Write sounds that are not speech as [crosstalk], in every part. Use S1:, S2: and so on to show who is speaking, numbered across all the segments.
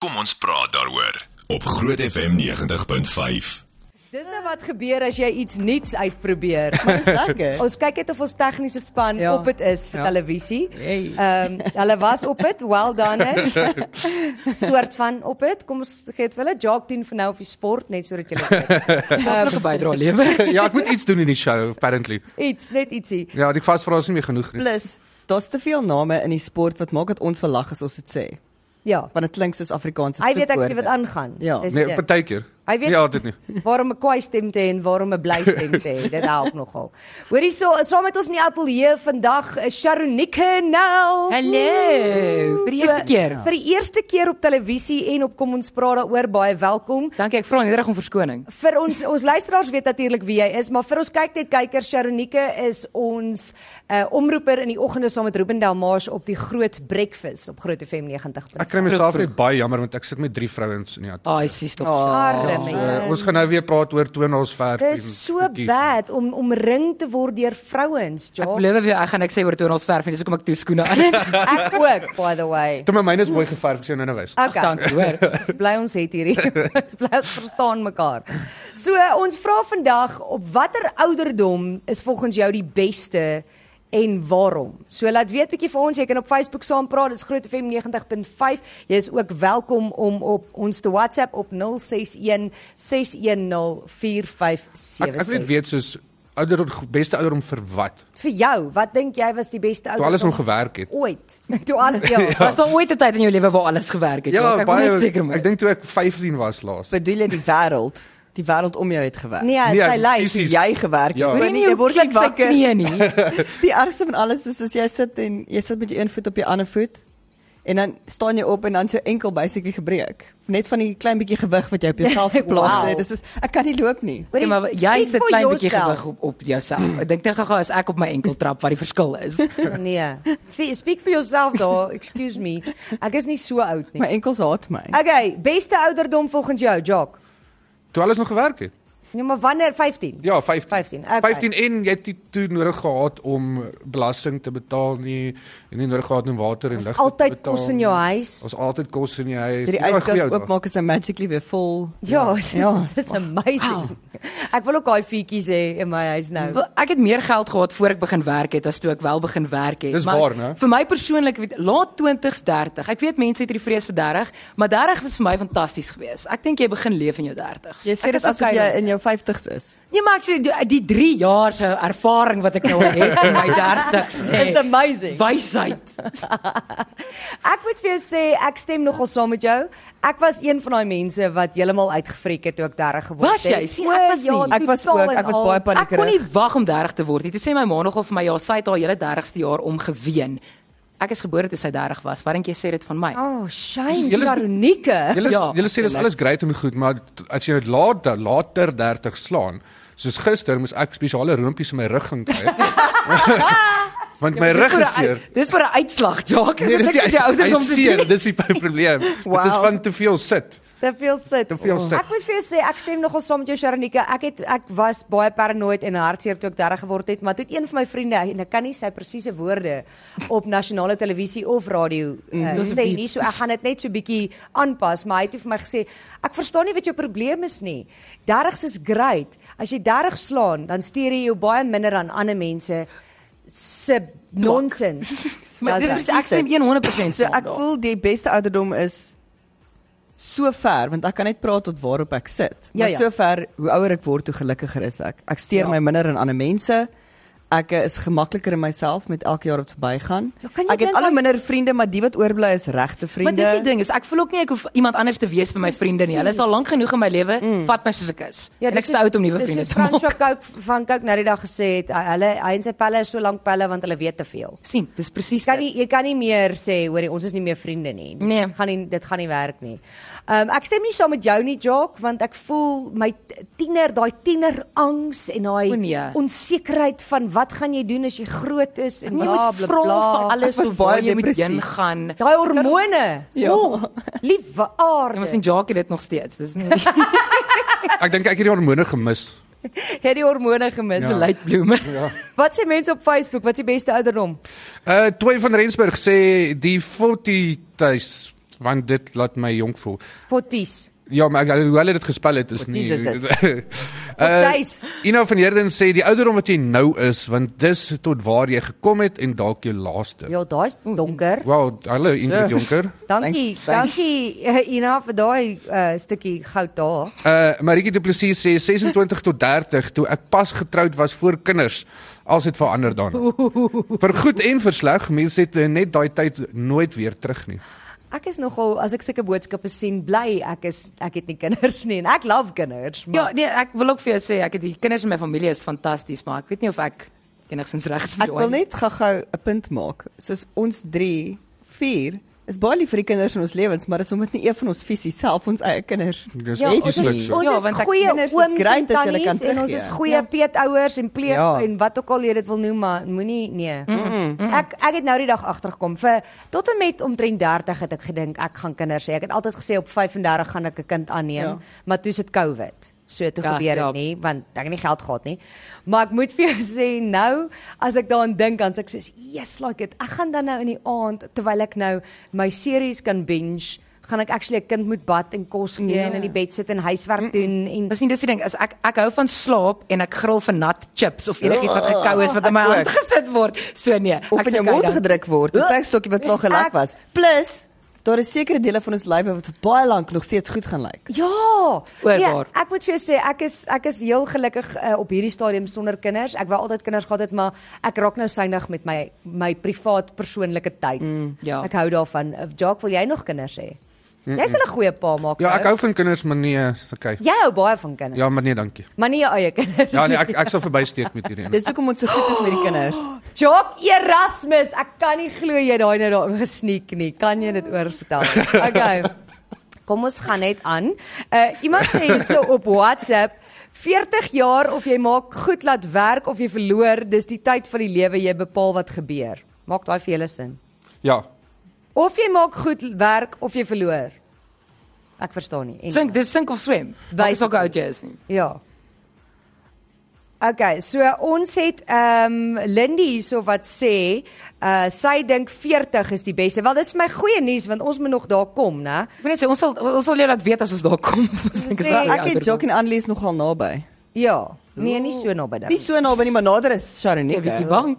S1: Kom ons praat daaroor op Groot FM 90.5.
S2: Dis nou wat gebeur as jy iets nuuts
S3: [laughs]
S2: uitprobeer.
S3: Dis lekker.
S2: Ons kyk net of ons tegniese span
S3: Ja.
S2: op dit is vir
S3: Ja.
S2: televisie.
S3: Hey.
S2: Ehm hulle was op dit. Well done.
S3: [laughs]
S2: hè. Soort van op dit. Kom ons gee dit vir hulle. Jock doen vir nou of die sport net sodat julle weet.
S4: [laughs]
S2: Ehm,
S4: Elke bydrae lewer.
S5: [laughs] ja, ek moet iets doen in die show apparently.
S2: [laughs] iets, net ietsie.
S5: Ja, die vasvra is nie meer genoeg nie.
S3: Plus, daar's te veel name in die sport wat maak dat ons wil lag as ons dit sê,
S2: Ja.
S3: want dit klink soos Afrikaanse
S2: Hy weet actually
S3: vloekwoorde.
S2: wat aangaan.
S3: Ja.
S2: Dis
S5: Nee,
S2: een.
S5: partykeer.
S2: Hy weet-
S5: nie altyd Ja, nie.
S2: [laughs] waarom 'n kwaai stem te hê en waarom 'n bly stem te
S5: [laughs]
S2: hê. Dit help nogal. Hoorie so, saam met ons in die ateljee vandag eh, is Sharonike nou.
S4: Hallo, vir die eerste keer.
S2: Vir die eerste keer op televisie en op kom ons praat daaroor baie welkom.
S4: Dankie, ek vra net reg om verskoning.
S2: Vir
S4: [laughs]
S2: ons ons luisteraars weet natuurlik wie jy is, maar vir ons kyk net kykers Sharonike is ons uh, omroeper in die oggende saam met Ruben Delmars op die Groot Breakfast op Groot FM 90.
S5: Ek kry myself net baie jammer want ek sit met drie vrouens in die
S2: Oh,
S5: ateljee.
S4: Ai, Ah, sies tog.
S2: Arme
S5: So,
S2: mense.
S5: uh, ons gaan nou weer praat oor toonaalsverf.
S2: Dis so bad om omring te word deur vrouens,
S4: Ek
S2: Jock.
S4: belowe vir jou, ek gaan niks sê oor tonals verf nie, dis hoekom ek toe skoene [laughs] aan.
S2: Ek ook by the way.
S5: Toe my myne is mooi geverf, ek sien nou nou wys.
S2: Okay.
S4: dankie, hoor.
S2: Ons bly ons het hierdie. Ons bly ons verstaan mekaar. So uh, ons vra vandag op watter ouderdom is volgens jou die beste en waarom? So laat weet bietjie vir ons, jy kan op Facebook saam praat, dis Groot FM 90.5. Jy is ook welkom om op ons te WhatsApp op 061 610
S5: Ek ek net
S2: 4576.
S5: weet soos ouder beste ouder om vir wat?
S2: Vir jou, wat dink jy was die beste
S5: Toe
S2: ouderdom?
S5: alles om gewerk het.
S2: ooit. [laughs] Toe
S5: [laughs]
S2: alles [laughs] ja.
S4: Was daar ooit 'n tyd in jou lewe waar alles gewerk het?
S5: Ja,
S4: Jock? ek wil
S5: baie
S4: net seker
S5: ek
S4: maak.
S5: dink toe ek 15 was laas.
S3: Bedoel jy die wêreld? Die wêreld om jou het gewerk.
S2: Nee,
S5: Nee,
S2: sy lyf.
S5: fisies.
S3: Jy gewerk.
S5: Ja.
S3: hoor
S4: Hoor jy
S3: nie,
S4: nie, jy word net wakker nie nie.
S3: Die ergste van alles is as jy sit en jy sit met jou een voet op die ander voet en dan staan jy op en dan is jou enkel basically gebreek. Net van die klein bietjie gewig wat jy op jouself geplaas
S2: Wow.
S3: het. Dis soos ek kan nie loop nie.
S4: Ja, maar jy sit klein bietjie gewig
S2: op.
S4: op op jouself. Ek dink net gaga as ek op my enkel trap wat die verskil is.
S2: Nee. Fe- Speak for yourself
S4: [laughs]
S2: daar. Excuse me. Ek is nie so oud nie.
S3: My enkels haat my.
S2: Okay, beste ouderdom volgens jou, Jock?
S5: Toe alles nog gewerk het.
S2: Nee, maar wanneer 15?
S5: Ja, 15.
S2: 15, okay.
S5: 15 en jy het nie toe nodig gehad om belasting te betaal nie en nie nodig gehad om water en
S2: Ons
S5: lig
S2: altyd
S5: te betaal.
S2: kos in jou huis.
S5: Ons altyd kos in die huis.
S3: Jy die
S5: Ja, goeie
S3: yskas
S5: ou dag.
S3: oopmaak is hy magically weer vol.
S2: Ja, [laughs] dit
S3: Ja.
S2: is amazing. Ek wil ook daai fietjies hê in my huis nou.
S4: Wel, Ek het meer geld gehad voor ek begin werk het as toe ek wel begin werk het.
S5: Dis
S4: maar
S5: waar, né?
S4: Vir my persoonlik, weet, laat 20s 30. Ek weet mense het hierdie vrees vir 30, maar 30 was vir my fantasties geweest. Ek dink jy begin leef in jou 30s.
S3: Jy sê dit asof jy in jou 50's is.
S4: Nee, maar ek sê die, die 3 jaar se ervaring wat ek nou al het
S5: [laughs]
S4: in my 30s.
S2: Dis amazing.
S4: Wysheid.
S2: [laughs] Ek moet vir jou sê ek stem nogal saam met jou. Ek was een van daai mense wat heeltemal uitgefreek het toe ek 30 geword het.
S4: Was jy? Sien, ek
S2: O,
S4: was
S2: ja,
S4: nie.
S3: Ek was
S2: totaal
S3: ook, ek
S2: en
S3: was
S2: al.
S3: baie
S4: Ek kon
S3: paniekerig.
S4: nie wag om 30 te word nie. Dit sê my ma nogal vir my ja, sy het haar hele 30ste jaar omgeween. Ek is gebore toe sy 30 was. Wat dink jy sê dit van my?
S2: Oh, shame,
S5: Julle-
S2: Sharonike.
S5: Julle
S4: Ja,
S5: ja, julle sê dis alles great en goed, maar t- as jy dit laat later 30 slaan, soos gister moes ek spesiale roompies in my rug gaan kry. Want my rug
S4: Dis
S5: is
S4: vir 'n- [laughs]
S5: seer.
S4: Dis vir 'n uitslag, Jacques.
S5: Nee, dis
S4: Dit het jou
S5: die hy
S4: ouderdom te
S5: seer,
S4: doen.
S5: dis die [laughs] probleem. Dit is
S3: Wow.
S5: van te veel sit.
S2: Te veel sit.
S5: Te veel sit.
S2: Ek moet vir jou sê, ek stem nogal saam met jou Sharonika. Ek het ek was baie paranoid en hartseer toe ek 30 geword het, maar toe het een van my vriende en ek kan nie sy presiese woorde op nasionale televisie of radio uh,
S4: Mm, Dis 'n
S2: sê
S4: diep.
S2: nie, so ek gaan dit net so bietjie aanpas, maar hy het toe vir my gesê, ek verstaan nie wat jou probleem is nie. 30s is great. As jy 30 slaan, dan stuur jy jou baie minder aan ander mense se nonsens.
S4: [laughs] Maar
S2: Dis
S4: Ja, dis
S2: ek.
S4: presies ek stem 100%
S3: So
S4: saam.
S3: ek
S4: daar.
S3: voel die beste ouderdom is so ver want ek kan net praat tot waarop ek sit.
S2: Ja,
S3: Maar
S2: ja.
S3: so ver hoe ouer ek word, hoe gelukkiger is ek. Ek steur
S4: Ja.
S3: my minder aan ander mense. Ek eh, is gemakliker in myself met elke jaar wat verbygaan.
S2: Ja, kan jy
S3: Ek
S2: dink
S3: het al
S2: aan-
S3: hoe minder vriende, maar die wat oorbly is regte vriende.
S4: Maar dis die ding is ek voel ook nie ek hoef iemand anders te wees vir my vriende nie. Hulle is al lank genoeg in my lewe. Mm. Vat my soos ek is. Ja, en
S2: dis
S4: ek is te
S2: soos-
S4: oud om nuwe
S2: dis
S4: vriende
S2: soos
S4: te maak.
S2: François Cook van Cook nou die dag gesê het, hy- hulle hy en sy pelle is so lank pelle want hulle weet te veel.
S4: [laughs] sien, dis presies.
S2: Jy kan nie jy kan nie meer sê hoorie ons is nie meer vriende nie. Dit
S4: Nee.
S2: gaan nie dit gaan nie werk nie. Ehm ek stem nie saam met jou nie Jock want ek voel my t- tiener daai tiener angs en daai
S4: O, nee.
S2: onsekerheid van wat gaan jy doen as jy groot is en
S4: jy
S2: bla
S4: moet
S2: bla
S4: vra vir
S2: bla.
S4: alles
S3: Ek was
S4: of waar
S3: baie
S4: jy moet
S3: depressief.
S4: heen gaan.
S2: Daai hormone.
S3: Ja.
S2: Liewe
S4: Jy mos
S2: aarde.
S4: en Jackie dit nog steeds. Dis nie [laughs]
S5: Ek dink ek het die hormone gemis.
S2: Het die hormone gemis.
S4: dis 'n late bloomer.
S5: Ja.
S2: Wat sê mense op Facebook?
S5: Eh,
S2: Wat is die beste ouderdom?
S5: Uh Toy van Rensburg sê die 40s want dit laat my jonk voel.
S2: Forties.
S5: Ja, maar ek, hoe hulle dit gespel het is nie. [laughs] Eh,
S3: Jesus
S2: Forties.
S5: Ina van Heerden sê die ouderdom wat jy nou is, want dis tot waar jy gekom het en dalk jou laaste.
S2: Ja, daai's donker.
S5: Wow, hallo Ingrid
S3: Sure.
S5: Jonker.
S2: Dankie.
S3: Thanks, thanks.
S2: Dankie eh, Ina vir daai eh, stukkie goud daar.
S5: Uh Maritjie Du Plessis sê 26 tot 30 toe ek pas getroud was voor kinders. Als dit verander dan. Vir goed en vir sleg, mense het eh, net daai tyd nooit weer terug nie.
S2: Ek is nogal as ek sulke boodskappe sien, bly ek is ek het nie kinders nie en ek love kinders,
S4: Ja,
S2: maar
S4: nee, ek wil ook vir jou sê ek het die kinders in my familie is fantasties, maar ek weet nie of ek enigstens regs vir
S3: [laughs] Ek wil net gou-gou 'n punt maak. Soos ons 3, 4 is baie lief vir die kinders in ons lewens, maar dis omdat nie een van ons visie self ons eie kinders.
S5: Dis
S2: Ja,
S5: ja,
S3: weet
S2: ons
S5: iets
S2: is,
S3: jy.
S5: niks.
S2: ons
S4: Ja,
S2: is
S4: want ek-
S2: goeie
S3: kinders is
S2: ooms en
S3: great as julle kan
S2: tannies en ons is
S3: teruggee.
S2: goeie
S3: Ja.
S2: peetouers en pleeg
S3: Ja.
S2: en wat ook al jy dit wil noem, maar moenie nee. Ek ek het nou die dag agtergekom vir tot en met omtrent 30 het ek gedink ek gaan kinders hê. Ek het altyd gesê op 35 gaan ek 'n kind aanneem,
S3: Ja.
S2: maar toe is dit COVID. So toe
S4: Ja,
S2: gebeur dit
S4: ja.
S2: nie, want ek het nie geld gehad nie. Maar ek moet [laughs] vir jou sê nou, as ek daaraan dink, dan sê ek soos, "Yes, like it. Ek gaan dan nou in die aand terwyl ek nou my series kan binge, gaan ek actually 'n kind moet bad en kos gee
S3: Ja.
S2: en in die bed sit en huiswerk doen en
S4: Dis nie dis die ding, as ek ek hou van slaap en ek gril vir nat chips of enigiets wat gekou is wat in my
S3: Ek ook.
S4: hand gesit word. So nee, ek
S3: Ah, Of in jou
S4: sou kyk
S3: mond
S4: dan-
S3: gedruk word. Dis 'n stokkie wat klaar gelek
S2: Ek-
S3: was. Plus, daar is sekere dele van ons lywe wat vir baie lank nog steeds goed gaan lyk.
S2: Ja,
S4: Oorbaar.
S2: nee, ek moet vir jou sê ek is ek is heel gelukkig uh, op hierdie stadium sonder kinders. Ek wou altyd kinders gehad het, maar ek raak nou synig met my my privaat persoonlike tyd. Mm,
S4: ja.
S2: Ek hou daarvan. Uh, Jock, wil jy nog kinders hê? Mm -mm. Jy's 'n goeie pa maak.
S5: Ja, ek
S2: nou.
S5: hou van kinders, maar nee, is okay.
S2: Jy hou baie van kinders. Ja.
S5: Ja, maar nee, dankie.
S2: Maar nie jou eie kinders.
S5: Ja nee, ek ek sal verbysteek met
S3: [laughs]
S5: hierdie een.
S3: Dis hoekom ons so goed is met die kinders.
S2: Jock Erasmus, ek kan nie glo jy daai nou daarin gesneek nie. Kan jy dit oorvertel? Okay. Kom ons gaan net aan. Uh iemand sê hierso op WhatsApp 40 jaar of jy maak goed laat werk of jy verloor, dis die tyd van die lewe jy bepaal wat gebeur. Maak daai vir julle sin.
S5: Ja.
S2: Of jy maak goed werk of jy verloor. Ek verstaan nie. En
S4: Sink, dis sink of swem. Baie so gou jy is nie.
S2: Ja. Okay, so ons het ehm um, Lindy hierso wat sê, uh sy dink 40 is die beste. Wel, dis vir my goeie nuus want ons moet nog daar kom, né?
S4: Ek wil net sê ons sal ons sal jou laat weet as ons daar kom. [laughs] Ons dink
S2: Sê-
S4: is
S3: Ek het Jock en Annelies nogal naby.
S2: Ja. Nee, nie so naby
S3: Nie
S2: dit.
S3: so naby nie, maar nader is Sharonika.
S4: bietjie bang.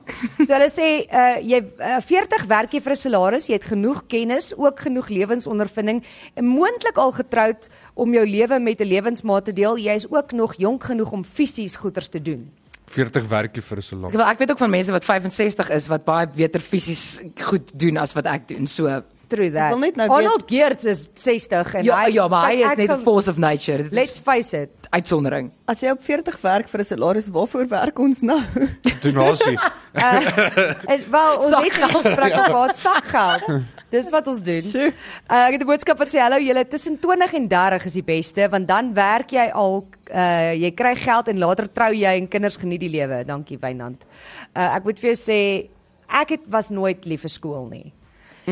S2: So hulle sê uh jy uh, 40 werk jy vir 'n salaris, jy het genoeg kennis, ook genoeg lewensondervinding en moontlik al getroud om jou lewe met 'n lewensmaat te deel. Jy is ook nog jonk genoeg om fisies goeders te doen.
S5: 40 werkie vir 'n salon.
S4: [laughs] Ek wil ek weet ook van mense wat 65 is wat baie beter fisies goed doen as wat ek doen. So
S2: True that.
S3: wil net nou
S2: Arnold Geerts is 60 en
S4: ja, ja, maar hy
S2: Ek
S4: is net
S2: sal-
S4: 'n force of nature. Dit
S2: Let's
S4: is
S2: face it.
S4: [laughs] uitsondering.
S3: As jy op 40 werk vir 'n salaris, waarvoor werk ons nou? [laughs]
S5: Doen ons nie.
S2: En Eh, wel ons het in ons gesprek gehad sakgeld. Dis wat ons doen. Uh, ek het 'n boodskap wat sê hallo julle tussen 20 en 30 is die beste want dan werk jy al uh jy kry geld en later trou jy en kinders geniet die lewe. Dankie Wynand. Uh ek moet vir jou sê ek het was nooit lief vir skool nie.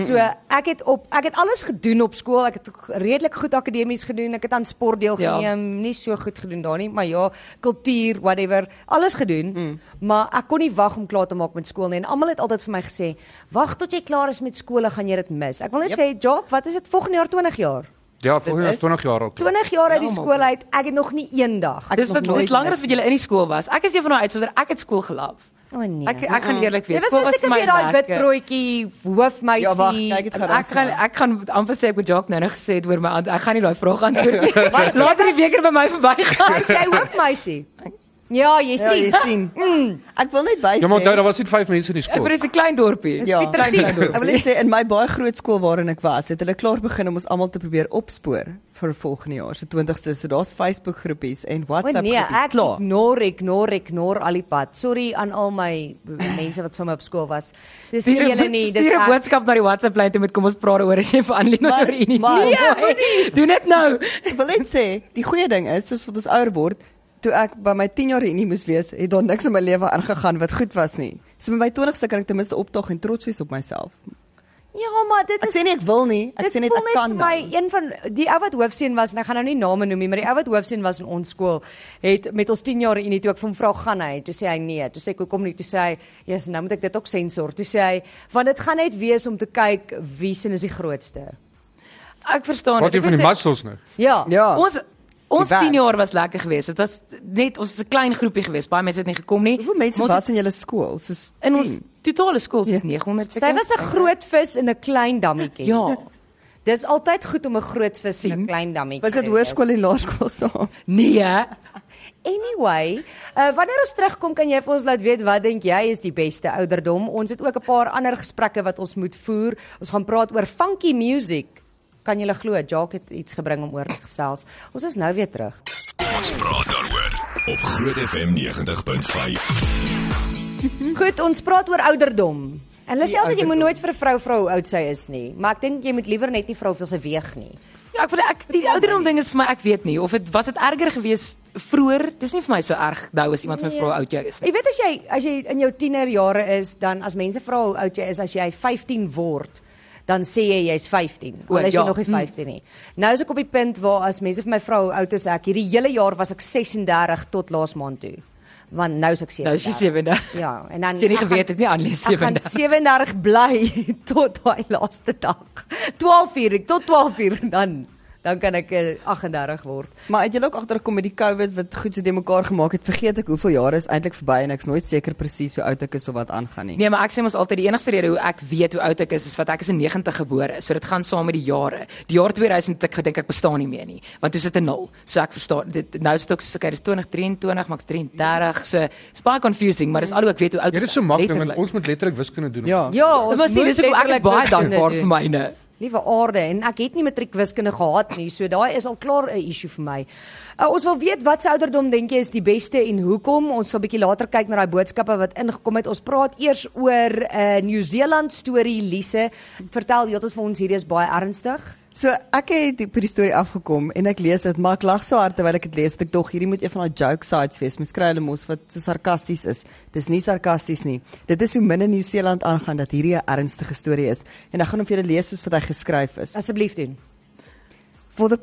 S2: So ek het op ek het alles gedoen op skool. Ek het redelik goed akademies gedoen. Ek het aan sport deelgeneem.
S4: Ja.
S2: Ja. Nie so goed gedoen daar nie, maar ja, kultuur, whatever, alles gedoen. Maar ek kon nie wag om klaar te maak met skool nie. En almal het altyd vir my gesê, "Wag tot jy klaar is met skool, dan gaan jy dit mis." Ek wil net
S3: Jep.
S2: sê, Jock, wat is dit volgende jaar 20 jaar?
S5: Ja, volgens
S3: is-
S5: 20 jaar al.
S2: 20 jaar uit die
S4: Ja, maar-
S2: skool uit. Ek het nog nie eendag.
S3: Ek het
S4: Dis
S3: nog
S4: wat
S3: nooit
S4: dis langer as
S3: mis
S4: wat jy in die skool was. Ek is een van daai uitsonder. Ek het skool gelaaf.
S2: O nee.
S4: Ek ek gaan
S2: Dit
S4: eerlik wees.
S2: was nou seker weer daai wit broodjie hoofmeisie.
S3: Ja, wag, kyk dit gaan.
S4: Ek gaan ek gaan amper sê ek moet Jacques nou nog gesê het oor my hand. Ek gaan nie daai vraag antwoord nie. [laughs] Maar Later die weker by my verbygaan.
S2: Hy's jy hoofmeisie. Ja, jy
S3: Ja, jy
S2: sien.
S3: sien. Ek wil net by sê.
S5: Ja, maar onthou, daar was net 5 mense in die
S4: Ek
S5: skool.
S4: bedoel dis 'n klein dorpie.
S3: Ja.
S4: Pieter Klein dorpie.
S3: [laughs] Ek wil net sê in my baie groot skool waarin ek was, het hulle klaar begin om ons almal te probeer opspoor vir volgende jaar se 20ste. So daar's Facebook groepies en
S2: O
S3: WhatsApp
S2: nee,
S3: groepies
S2: ek
S3: klaar.
S2: ignore, ignore, ignore al die pad. Sorry aan al my mense wat sommer op skool was. Dis nie
S4: Stuur
S2: julle
S4: 'n
S2: nie,
S4: nie,
S2: dis
S4: stuur 'n
S2: ek.
S4: boodskap na die WhatsApp lyn toe met kom ons praat oor as jy vir Anlyn
S3: Maar-
S4: oor Unie.
S3: maar- Nee,
S4: moenie. Doen dit nou.
S3: Ek wil net sê, die goeie ding is, soos wat ons ouer word, toe ek by my 10 jaar reunie moes wees, het daar niks in my lewe aangegaan wat goed was nie. So met my 20ste kan ek ten minste opdaag en trots wees op myself.
S2: Ja, maar dit
S3: Ek
S2: is
S3: sê nie ek wil nie, ek
S2: dit
S3: sê net
S2: voel
S3: ek kan.
S2: vir my
S3: nou.
S2: een van die ou wat hoofseun was en ek gaan nou nie name noem nie, maar die ou wat hoofseun was in ons skool het met ons 10 jaar unie toe ek vir hom vra gaan hy, toe sê hy nee, toe sê ek hoekom nie, toe sê hy, "Jesus, nou moet ek dit ook sensor." Toe sê hy, "Want dit gaan net wees om te kyk wie se is die grootste."
S4: ek verstaan
S5: Wat
S4: dit.
S5: jy
S4: Ek
S5: van die
S4: was-
S5: muscles nou?
S2: Ja.
S3: Ja.
S4: Ons ons
S3: Die werk.
S4: 10 jaar was lekker geweest. Dit was net ons was 'n klein groepie geweest. Baie mense het nie gekom nie.
S3: Hoeveel mense
S4: Maar ons
S3: was in julle skool? Soos
S4: het- in ons
S3: 10?
S4: totale skool is
S3: Ja.
S4: 900
S2: Sy
S4: seker.
S2: was 'n groot vis in 'n klein dammetjie.
S4: Ja.
S2: Dis altyd goed om 'n groot vis in 'n
S4: Sien.
S2: klein dammetjie.
S3: Mhm. Was dit
S2: te wees.
S3: hoërskool en laerskool saam?
S4: Nee. hè?
S2: Anyway, uh, wanneer ons terugkom kan jy vir ons laat weet wat dink jy is die beste ouderdom? Ons het ook 'n paar ander gesprekke wat ons moet voer. Ons gaan praat oor funky music. Kan jy glo, Jacques het iets gebring om oor te gesels. Ons is nou weer terug.
S1: Ons praat daaroor op Groot FM 90.5.
S2: Goed, ons praat oor ouderdom. En hulle sê
S3: Die
S2: altyd jy moet
S3: ouderdom.
S2: nooit vir 'n vrou vra hoe oud sy is nie, maar ek dink jy moet liewer net nie vra hoeveel sy weeg nie.
S4: Ja, ek wil ek die ouderdom ding is vir my ek weet nie of dit was dit erger geweest vroeër. Dis nie vir my so erg nou as iemand my vra hoe
S2: Nee.
S4: oud jy is nie.
S2: Jy weet as jy as jy in jou tienerjare is, dan as mense vra hoe oud jy is as jy 15 word, dan sê jy jy's 15.
S4: O,
S2: Al is jy
S4: ja.
S2: nog nie 15 nie. Nou is ek op die punt waar as mense vir my vra hoe oud is ek, hierdie hele jaar was ek 36 tot laas maand toe. Want nou is ek 37.
S4: Nou is jy 37.
S2: Ja, en dan
S4: As jy
S2: [laughs]
S4: nie
S2: ek gaan-
S4: geweet het nie, Annelies,
S2: Ek gaan
S4: 37.
S2: 37 bly [laughs] tot daai laaste dag. 12 uur, tot 12 uur dan dan kan ek eh, 38 word.
S3: Maar het julle ook agtergekom met die COVID wat goed so de mekaar gemaak het? Vergeet ek hoeveel jare is eintlik verby en ek's nooit seker presies hoe oud ek is of wat aangaan nie.
S4: Nee, maar ek sê mos altyd die enigste rede hoe ek weet hoe oud ek is is wat ek is in 90 gebore, so dit gaan saam met die jare. Die jaar 2000 het ek gedink ek bestaan nie meer nie, want toe sit 'n 0. So ek verstaan dit nou is dit ook soos okay, dis 2023, maar ek's 33, so it's baie confusing, maar dis al hoe ek weet hoe oud
S5: Ja, Dit
S4: ek
S5: is so maklik want
S4: letterlik.
S5: ons moet letterlik wiskunde doen.
S3: Ja.
S2: Ja,
S4: Dit was nie Nou, dis ek ek is
S2: [laughs]
S4: baie dankbaar vir myne.
S2: Liewe aarde en ek het nie matriekwiskunde gehad nie, so daai is al klaar 'n issue vir my. Uh, ons wil weet wat se ouderdom dink jy is die beste en hoekom? Ons sal bietjie later kyk na daai boodskappe wat ingekom het. Ons praat eers oor 'n uh, Nieu-Seeland storie Lise. Vertel heeltyd vir ons hierdie is baie ernstig.
S3: So ek het die- by die storie afgekom en ek lees dit, maar ek lag so hard terwyl ek dit lees dat ek dog hierdie moet een van daai joke sites wees. Mens kry hulle mos wat so sarkasties is. Dis nie sarkasties nie. Dit is hoe min in Nieu-Seeland aangaan dat hierdie 'n ernstige storie is. En ek gaan hom vir julle lees soos wat hy geskryf is.
S2: Asseblief doen.
S3: For the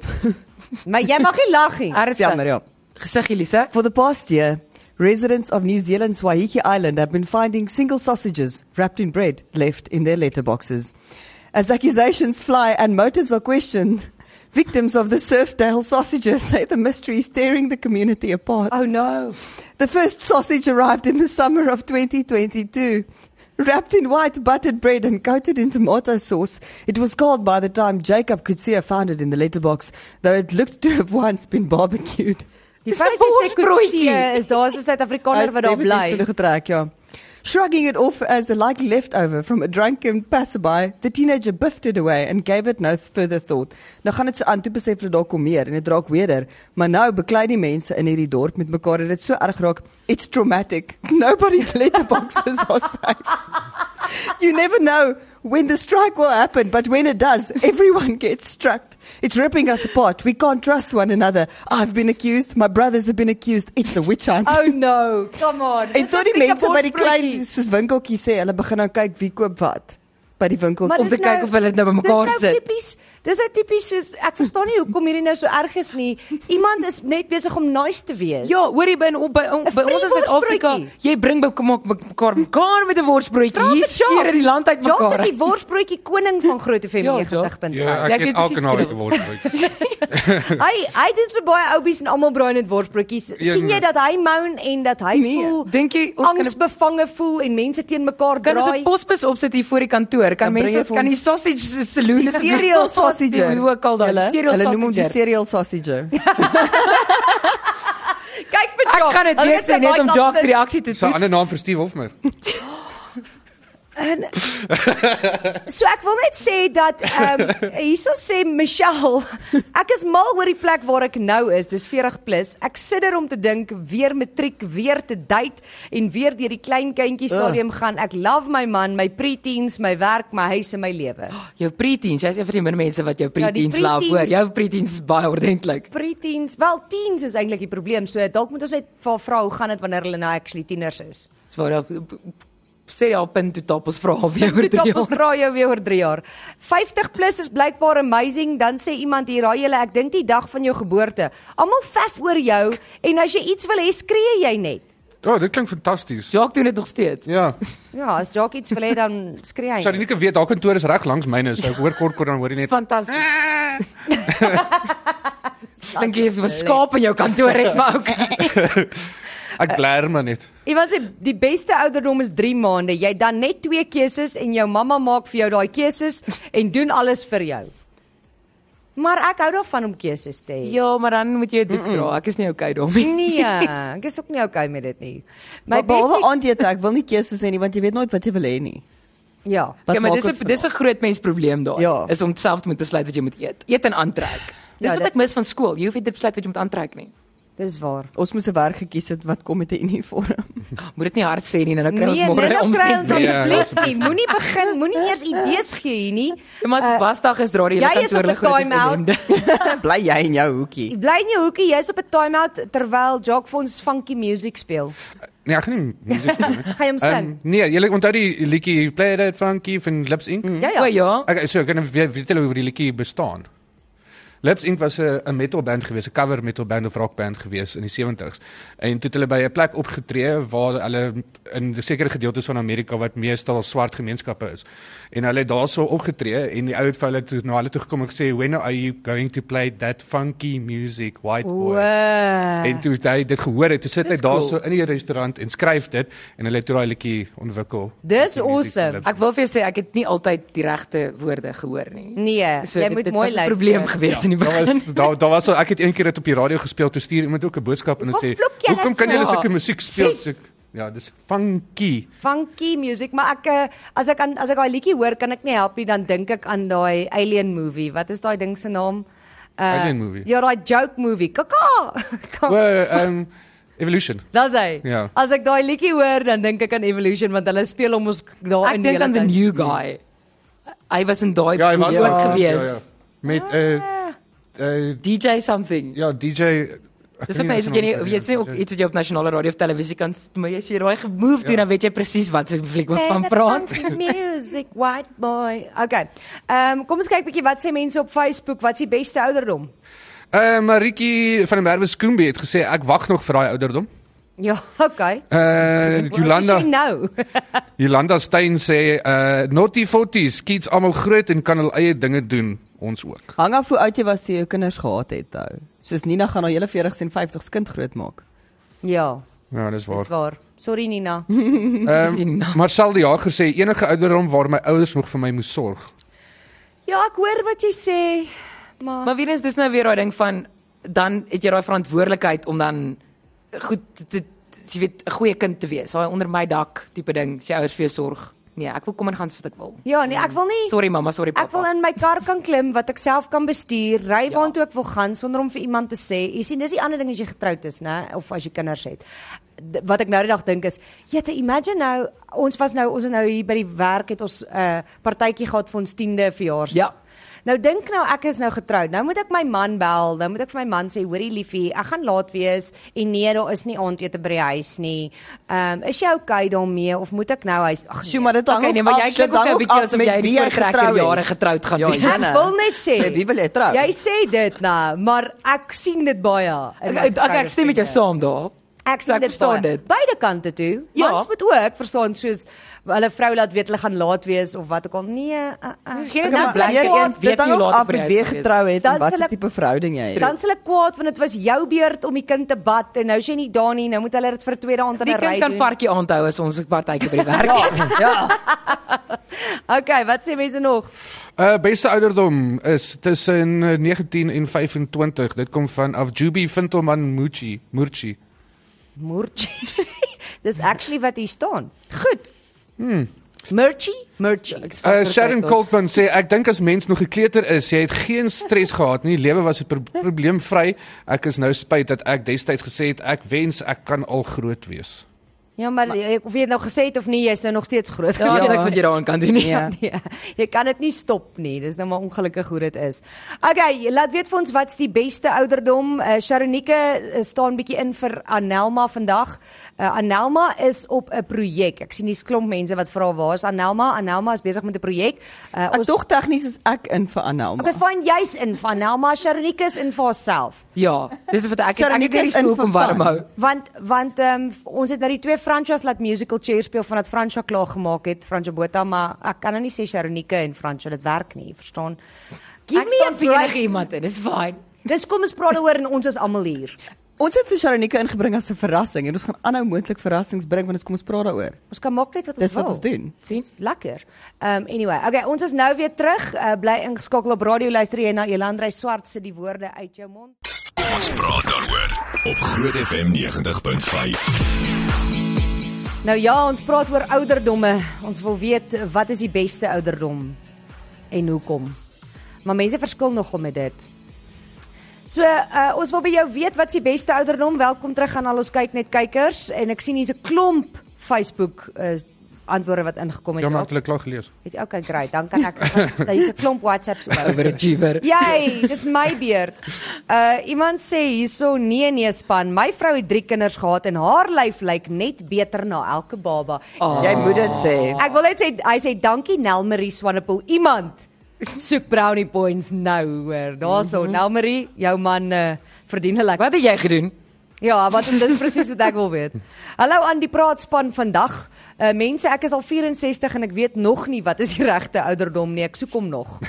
S2: Maar jy mag nie lag nie.
S3: [laughs]
S4: Ernstig.
S3: jammer ja.
S4: Gesiggie Lise.
S3: For the past year, residents of New Zealand's Waiheke Island have been finding single sausages wrapped in bread left in their letterboxes. As accusations fly and motives are questioned, victims of the Surfdale sausages [laughs] say the mystery is tearing the community apart.
S2: Oh no.
S3: The first sausage arrived in the summer of 2022. Wrapped in white buttered bread and coated in tomato sauce, it was cold by the time Jacob could see found it in the letterbox, though it looked to have once been barbecued.
S2: Die
S4: Dis 'n
S2: feit dat jy kon
S4: worsbroodjie.
S2: sien is daar's 'n Suid-Afrikaner wat daar
S3: Hy het definitief
S2: bly.
S3: hulle getrek, ja. Shrugging it off as a likely leftover from a drunken passerby, the teenager biffed it away and gave it no further thought. Nou gaan dit so aan toe besef hulle daar kom meer en dit raak weerder, maar nou beklei die mense in hierdie dorp met mekaar dat dit so erg raak. It's traumatic. [laughs] Nobody's letterboxes [laughs] are safe. You never know when the strike will happen, but when it does, everyone gets struck. It's ripping us apart. We can't trust one another. I've been accused. My brothers have been accused. It's a witch hunt.
S2: Oh no. Come on.
S3: En
S2: Dis
S3: tot die
S2: net 'n
S3: mense by die klein
S2: worsbroodjie.
S3: soos winkeltjie sê, hulle begin nou kyk wie koop wat by die winkel.
S4: Maar- om
S2: dis
S4: te kyk of hulle dit nou bymekaar
S2: dis nou
S4: sit.
S2: Tipies, dis nou tipies soos ek verstaan nie hoekom hierdie nou so erg is nie. Iemand is net besig om nice te wees.
S4: Ja, hoorie by by, by, by ons in Suid-Afrika,
S2: worsbroodjie.
S4: jy bring by mekaar mekaar mekaar met 'n worsbroodjie. Hier skeer die land uit
S2: Ja,
S4: mekaar.
S2: dis die worsbroodjie koning van Groot FM
S4: Ja,
S2: 90.5.
S5: Ja,
S4: Ja,
S5: ek [laughs]
S4: ek
S5: het
S4: weet
S5: elke
S4: presies
S5: naweek
S4: wat-
S5: geword.
S3: [laughs]
S2: Hy hy doen so baie oubies en almal braai net worsbroodjies.
S5: Ja,
S2: sien jy
S5: nee.
S2: dat hy moan en dat hy
S3: Nee.
S2: voel
S4: Dink jy ons kan 'n-
S2: angsbevange voel en mense teen mekaar
S4: Kan ons 'n
S2: draai?
S4: posbus opsit hier voor die kantoor?
S3: Dan
S4: Kan
S3: bring
S4: mense
S3: jy vir
S4: kan die
S3: ons-
S4: sausage saloon [laughs]
S3: die cereal sausage.
S4: Hoe ook al daai
S3: Hulle-
S4: cereal
S3: Hulle noem hom die
S4: sausage.
S3: cereal
S4: [laughs]
S3: sausage.
S2: Kyk vir
S4: Ek
S2: Jock.
S4: kan dit
S2: Hulle
S4: weer
S2: sit
S4: sê net
S2: baie
S4: om
S2: kant
S4: Jacques se
S2: sit.
S4: reaksie te
S5: Dis 'n ander
S4: toets.
S5: naam vir Steve Hofmeer.
S2: So ek wil net sê dat ehm um, hierso sê Michelle, ek is mal oor die plek waar ek nou is. Dis 40 plus. Ek sidder om te dink weer matriek, weer te date en weer deur die klein kindjie stadium gaan. Ek love my man, my preteens, my werk, my huis en my lewe.
S4: Jou preteens, jy's een van die min mense wat jou
S2: Ja, die
S4: preteens laaf hoor.
S2: preteens.
S4: Jou preteens is baie ordentlik.
S2: Preteens, wel teens is eintlik die probleem. So dalk moet ons net vir vrou gaan dit wanneer hulle nou actually tieners is.
S4: Dis waar daar sê al punt toe top ons vra al weer
S2: [laughs]
S4: oor
S2: Toe
S4: die
S2: tap ons
S4: jaar.
S2: vra jou weer oor 3 jaar. 50 plus is blykbaar amazing. Dan sê iemand hier, "Raai julle, ek dink die dag van jou geboorte. Almal faf oor jou en as jy iets wil hê, skree jy net."
S5: Ja, oh, dit klink fantasties.
S4: Jacques doen dit nog steeds.
S5: Ja.
S2: Ja, as Jacques iets wil hê dan skree hy.
S5: Sou
S2: nie.
S5: nie kan weet daar kantoor is reg langs myne, so ek hoor kort kort dan hoor jy net "Ah."
S4: Fantasties.
S2: Ah,
S4: Dan gee jy 'n skaap in jou kantoor het maar ook.
S5: ek bler maar net.
S2: Iemand sê die beste ouderdom is 3 maande. Jy het dan net twee keuses en jou mamma maak vir jou daai keuses en doen alles vir jou. Maar ek hou daarvan om keuses te hê.
S4: Ja, maar dan moet jy dit dra. Ek is nie okay daarmee. [laughs] Ja,
S2: Nee, ek is ook nie okay met dit nie. My
S3: Maar behalwe
S2: beste
S3: aandete, ek wil nie keuses hê nie want jy weet nooit wat jy wil hê nie.
S2: ja.
S3: Wat
S4: Ja, maar
S3: maak
S4: dis 'n
S3: ons
S4: dis 'n groot mens probleem daar.
S3: Ja.
S4: Is om self te moet besluit wat jy moet eet. Eet en aantrek. Dis
S2: Ja,
S4: wat
S2: dit-
S4: ek mis van skool. Jy hoef nie te besluit wat jy moet aantrek nie.
S2: Dis waar.
S3: Ons moes 'n werk gekies het wat kom met 'n uniform. [laughs]
S4: Moet dit nie hard sê nie, dan kry ons
S2: nee,
S4: môre
S2: nou kry ons
S4: omset.
S5: weer.
S2: asseblief nie. Moenie begin, moenie eers idees gee hier nie.
S4: [laughs] Maar as
S2: Eh,
S4: wasdag is daar die
S2: jy is op 'n time-out.
S3: Bly jy in jou hoekie.
S2: Bly in jou hoekie, jy's op 'n timeout terwyl Jock Fons funky music speel.
S5: Nee, ek gaan nie musiek doen nie.
S2: Gaan jy hom sing?
S5: Ehm, nee, jy onthou die liedjie Play That Funky van Lips
S3: Mm.
S5: Inc.
S2: ja
S4: Ja
S2: ja.
S4: ja.
S5: Ek so ek kan weet weet julle hoe die liedjie bestaan. Lips Inc was 'n 'n metalband gewees, 'n cover metalband of rockband gewees in die 70s. En toe het hulle by 'n plek opgetree waar hulle in sekere gedeeltes van Amerika wat meestal swart gemeenskappe is. En hulle het daarso opgetree en die ou het vir hulle toe na hulle toe gekom en gesê, "When are you going to play that funky music, white boy?" En
S2: Wow.
S5: toe het hy dit gehoor het, toe sit hy
S4: Dis cool.
S5: daarso in die restaurant en skryf dit en hulle het toe daai liedjie ontwikkel.
S2: Dis
S5: Met die music van
S2: awesome.
S5: Lips Inc.
S4: Ek wil vir jou sê ek het nie altyd die regte woorde gehoor nie.
S2: Nee, jy
S4: dit-
S2: moet
S4: dit
S2: mooi
S4: was 'n
S2: luister.
S4: probleem gewees ja, in die
S5: Daar
S4: begin.
S5: was daar daar was so, ek het een keer dit op die radio gespeel toe stuur iemand ook 'n boodskap en hy
S2: Hoekom
S5: sê
S2: vloek jy
S5: hoekom kan
S2: so?
S5: julle sulke musiek speel
S2: Sies.
S5: so ja dis funky
S2: Funky music, maar ek eh, as ek aan as ek daai liedjie hoor, kan ek nie help nie, dan dink ek aan daai Alien movie. Wat is daai ding se naam? Eh,
S5: Alien movie?
S2: Ja, daai joke movie. Kaka. [laughs]
S5: o um evolution
S2: Dis hy.
S5: Ja.
S2: As ek daai liedjie hoor, dan dink ek aan Evolution want hulle speel hom ons daar
S4: Ek
S2: in
S4: dink
S2: hele
S4: aan the
S2: tyd.
S4: new guy. Hy was in daai
S5: ja hy was
S4: groep ook
S5: ook
S4: gewees.
S5: met eh eh
S4: DJ something.
S5: ja DJ ek
S4: Ja. Dis
S5: kan
S4: ook mense wat jy nie
S5: nou-
S4: weet nie ook iets wat jy op nasionale radio of televisie kan s- maar as jy raai gemove doen dan weet jy presies wat se fliek ons van
S2: Hey,
S4: praat.
S2: the funky Music white boy. Okay. Ehm um, kom ons kyk bietjie wat sê mense op Facebook, wat is die beste ouderdom?
S5: Eh Maritjie van der Merwe Skoombe het gesê ek wag nog vir daai ouderdom.
S2: Ja, okay.
S5: Eh
S2: Wat
S5: Jolanda
S2: is jy nou. [laughs]
S5: Jolanda Stein sê eh naughty 40s kids almal groot en kan hul eie dinge doen ons ook.
S3: Hang af hoe oud jy was toe jy jou kinders gehad het ou. Soos Nina gaan haar hele 40s en 50s kind grootmaak.
S2: ja,
S5: Ja, dis waar.
S2: dis waar. Sorry Nina.
S5: Ehm Marcel die Jager sê enige ouderdom waar my ouers nog vir my moes sorg.
S2: Ja, ek hoor wat jy sê, maar,
S4: [laughs] Maar weer eens dis nou weer daai ding van dan het jy daai verantwoordelikheid om dan goed te, te, jy weet 'n goeie kind te wees. Daai onder my dak tipe ding, as jy ouers vir jou sorg. Nee, ek wil kom en gaan so wat ek wil.
S2: ja, nee, ek wil nie
S4: Sorry mamma, sorry
S2: Ek
S4: pappa.
S2: wil in my kar kan klim wat ek self kan bestuur, ry
S3: Ja.
S2: waartoe ek wil gaan sonder om vir iemand te sê. Jy sien, dis die ander ding as jy getroud is, né, of as jy kinders het. D- Wat ek nou die dag dink is, jete, imagine nou, ons was nou ons het nou hier by die werk het ons 'n uh, partytjie gehad vir ons 10de verjaarsdag.
S4: Ja.
S2: Nou dink nou ek is nou getroud. Nou moet ek my man bel. Nou moet ek vir my man sê, "Hoerie liefie, ek gaan laat wees en nee, daar is nie aandete by die huis nie. Ehm, um, is jy okay daarmee of moet ek nou huis Ag,
S3: Sjoe, maar dit hang
S4: Okay, nee,
S3: ook
S4: maar
S3: af-
S4: jy klink
S3: dit
S4: ook
S3: hang
S4: 'n bietjie
S3: af
S4: asof
S3: met wie
S4: jy die voortrekker
S3: getrou het.
S4: jare getroud gaan
S3: Ja,
S4: wees.
S3: ja.
S4: Ja,
S2: Ek
S3: Janne,
S2: wil net sê.
S3: met wie wil jy trou?
S2: Jy sê dit nou, maar ek sien dit baie. in my
S4: ek, ek, ek stem met jou
S2: vriende.
S4: saam daar.
S2: Ek sien
S4: Ek
S2: dit
S4: verstaan
S2: baie.
S4: dit.
S2: Beide kante toe. Ja.
S4: Ja.
S2: Mans moet ook verstaan soos hulle vrou laat weet hulle gaan laat wees of wat ook al. Nee, uh, uh.
S4: Dis geen
S3: Okay,
S4: Dan
S3: Ja, maar
S4: bly
S3: weer
S4: jy
S3: eens,
S4: Ja, weet
S3: dit hang
S4: nie
S3: ook
S4: later
S3: af
S4: by die
S3: met
S4: huis
S3: wie jy
S4: gewees.
S3: getrou het
S2: Dan
S3: en wat
S2: sal
S3: se
S2: ek-
S3: tipe verhouding jy het.
S2: Dan se hulle kwaad want dit was jou beurt om die kind te bad en nou is jy nie daar nie. Nou moet hulle dit vir 'n tweede aand aan
S4: Die
S2: 'n ry
S4: kind kan
S2: doen.
S4: varkie aanhou as ons 'n
S2: [laughs]
S4: partytjie by die werk het.
S3: Ja,
S2: Okay, wat sê mense nog?
S5: Uh beste ouderdom is tussen eh, 19 en 25. Dit kom van Afjubi Fintelman Muchi, Murchi.
S2: Murchie. [laughs] Dis actually wat hier staan. Goed. Hmm. Murchie, Murchie.
S4: Ek is vas
S3: Eh,
S5: Uh
S4: oortuig
S5: Sharon
S4: daar's-
S5: Coltman sê ek dink as mens nog gekleter is, jy het geen stres gehad nie. Lewe was 'n pro probleemvry. Ek is nou spyt dat ek destyds gesê het ek wens ek kan al groot wees.
S2: Ja, maar, ek- of jy het nou gesê het of nie, jy's nou nog steeds groot.
S4: Ja,
S2: geworden.
S4: ek wat jy daaraan kan doen nie.
S3: Ja.
S2: [laughs] Ja, jy kan dit nie stop nie. Dis nou maar ongelukkig hoe dit is. Okay, laat weet vir ons wat's die beste ouderdom. Eh Sharonike eh, staan bietjie in vir Anelma vandag. Eh Anelma is op 'n projek. Ek sien hier's klomp mense wat vra waar's Anelma? Anelma is besig met 'n projek. Eh
S3: [laughs] Ek dog tegnies is ek in vir Anelma.
S2: Ek vind jy's in van Anelma, Sharonike is in vir haarself.
S4: [laughs] Ja, dis wat ek ek
S3: Sharon,
S4: het
S3: ek
S4: net die
S3: is in
S4: stoel om warm
S3: vervang.
S4: hou.
S2: Want want ehm um, ons het nou die twee Franchas laat musical chair speel vandat Francha klaar gemaak het, Francha Botha, maar ek kan nou nie sê Sharonike en Francha dit werk nie, verstaan? Give
S4: Ek
S2: me a
S4: staan vir
S2: break.
S4: enige iemand in. Dis fyn.
S2: Dis kom ons praat daaroor en ons is almal hier.
S3: Ons het vir Sharonika ingebring as 'n verrassing en ons gaan aanhou moontlik verrassings bring want ons kom ons praat daaroor.
S2: Ons kan maak net wat ons
S3: Dis
S2: wil.
S3: wat ons doen.
S4: sien?
S2: Dis lekker. Um anyway, okay, ons is nou weer terug. Uh, bly ingeskakel op radio luister jy na Elandrey Swart se die woorde uit jou mond.
S1: Ons praat daaroor op Groot FM 90.5.
S2: Nou ja, ons praat oor ouderdomme. Ons wil weet wat is die beste ouderdom en hoekom. Maar mense verskil nogal met dit. So, uh, ons wil by jou weet wat is die beste ouderdom? Welkom terug aan al ons kyk net kykers en ek sien hier's 'n klomp Facebook uh, antwoorde wat ingekom het.
S5: Ja, maar
S2: Jaap.
S5: het hulle klaar gelees.
S2: Weet jy, okay, great. Dan kan ek [laughs] hier's 'n klomp WhatsApps oor.
S4: Overachiever.
S2: Jy, dis my beurt. Uh iemand sê hierso nee nee span. My vrou het 3 kinders gehad en haar lyf lyk net beter na elke baba.
S4: Oh.
S3: Jy moet dit sê.
S2: Ek wil net sê hy sê dankie Nelmarie Swanepoel. Iemand soek brownie points nou hoor. Daarso
S4: Mhm.
S2: mm -hmm. Nelmarie, jou man uh, verdien 'n lekker.
S4: Wat het jy gedoen?
S2: Ja, wat dit is presies wat ek wil weet. Hallo aan die praatspan vandag. Uh, mense, ek is al 64 en ek weet nog nie wat is die regte ouderdom nie. Ek soek hom
S4: [laughs]
S2: nog.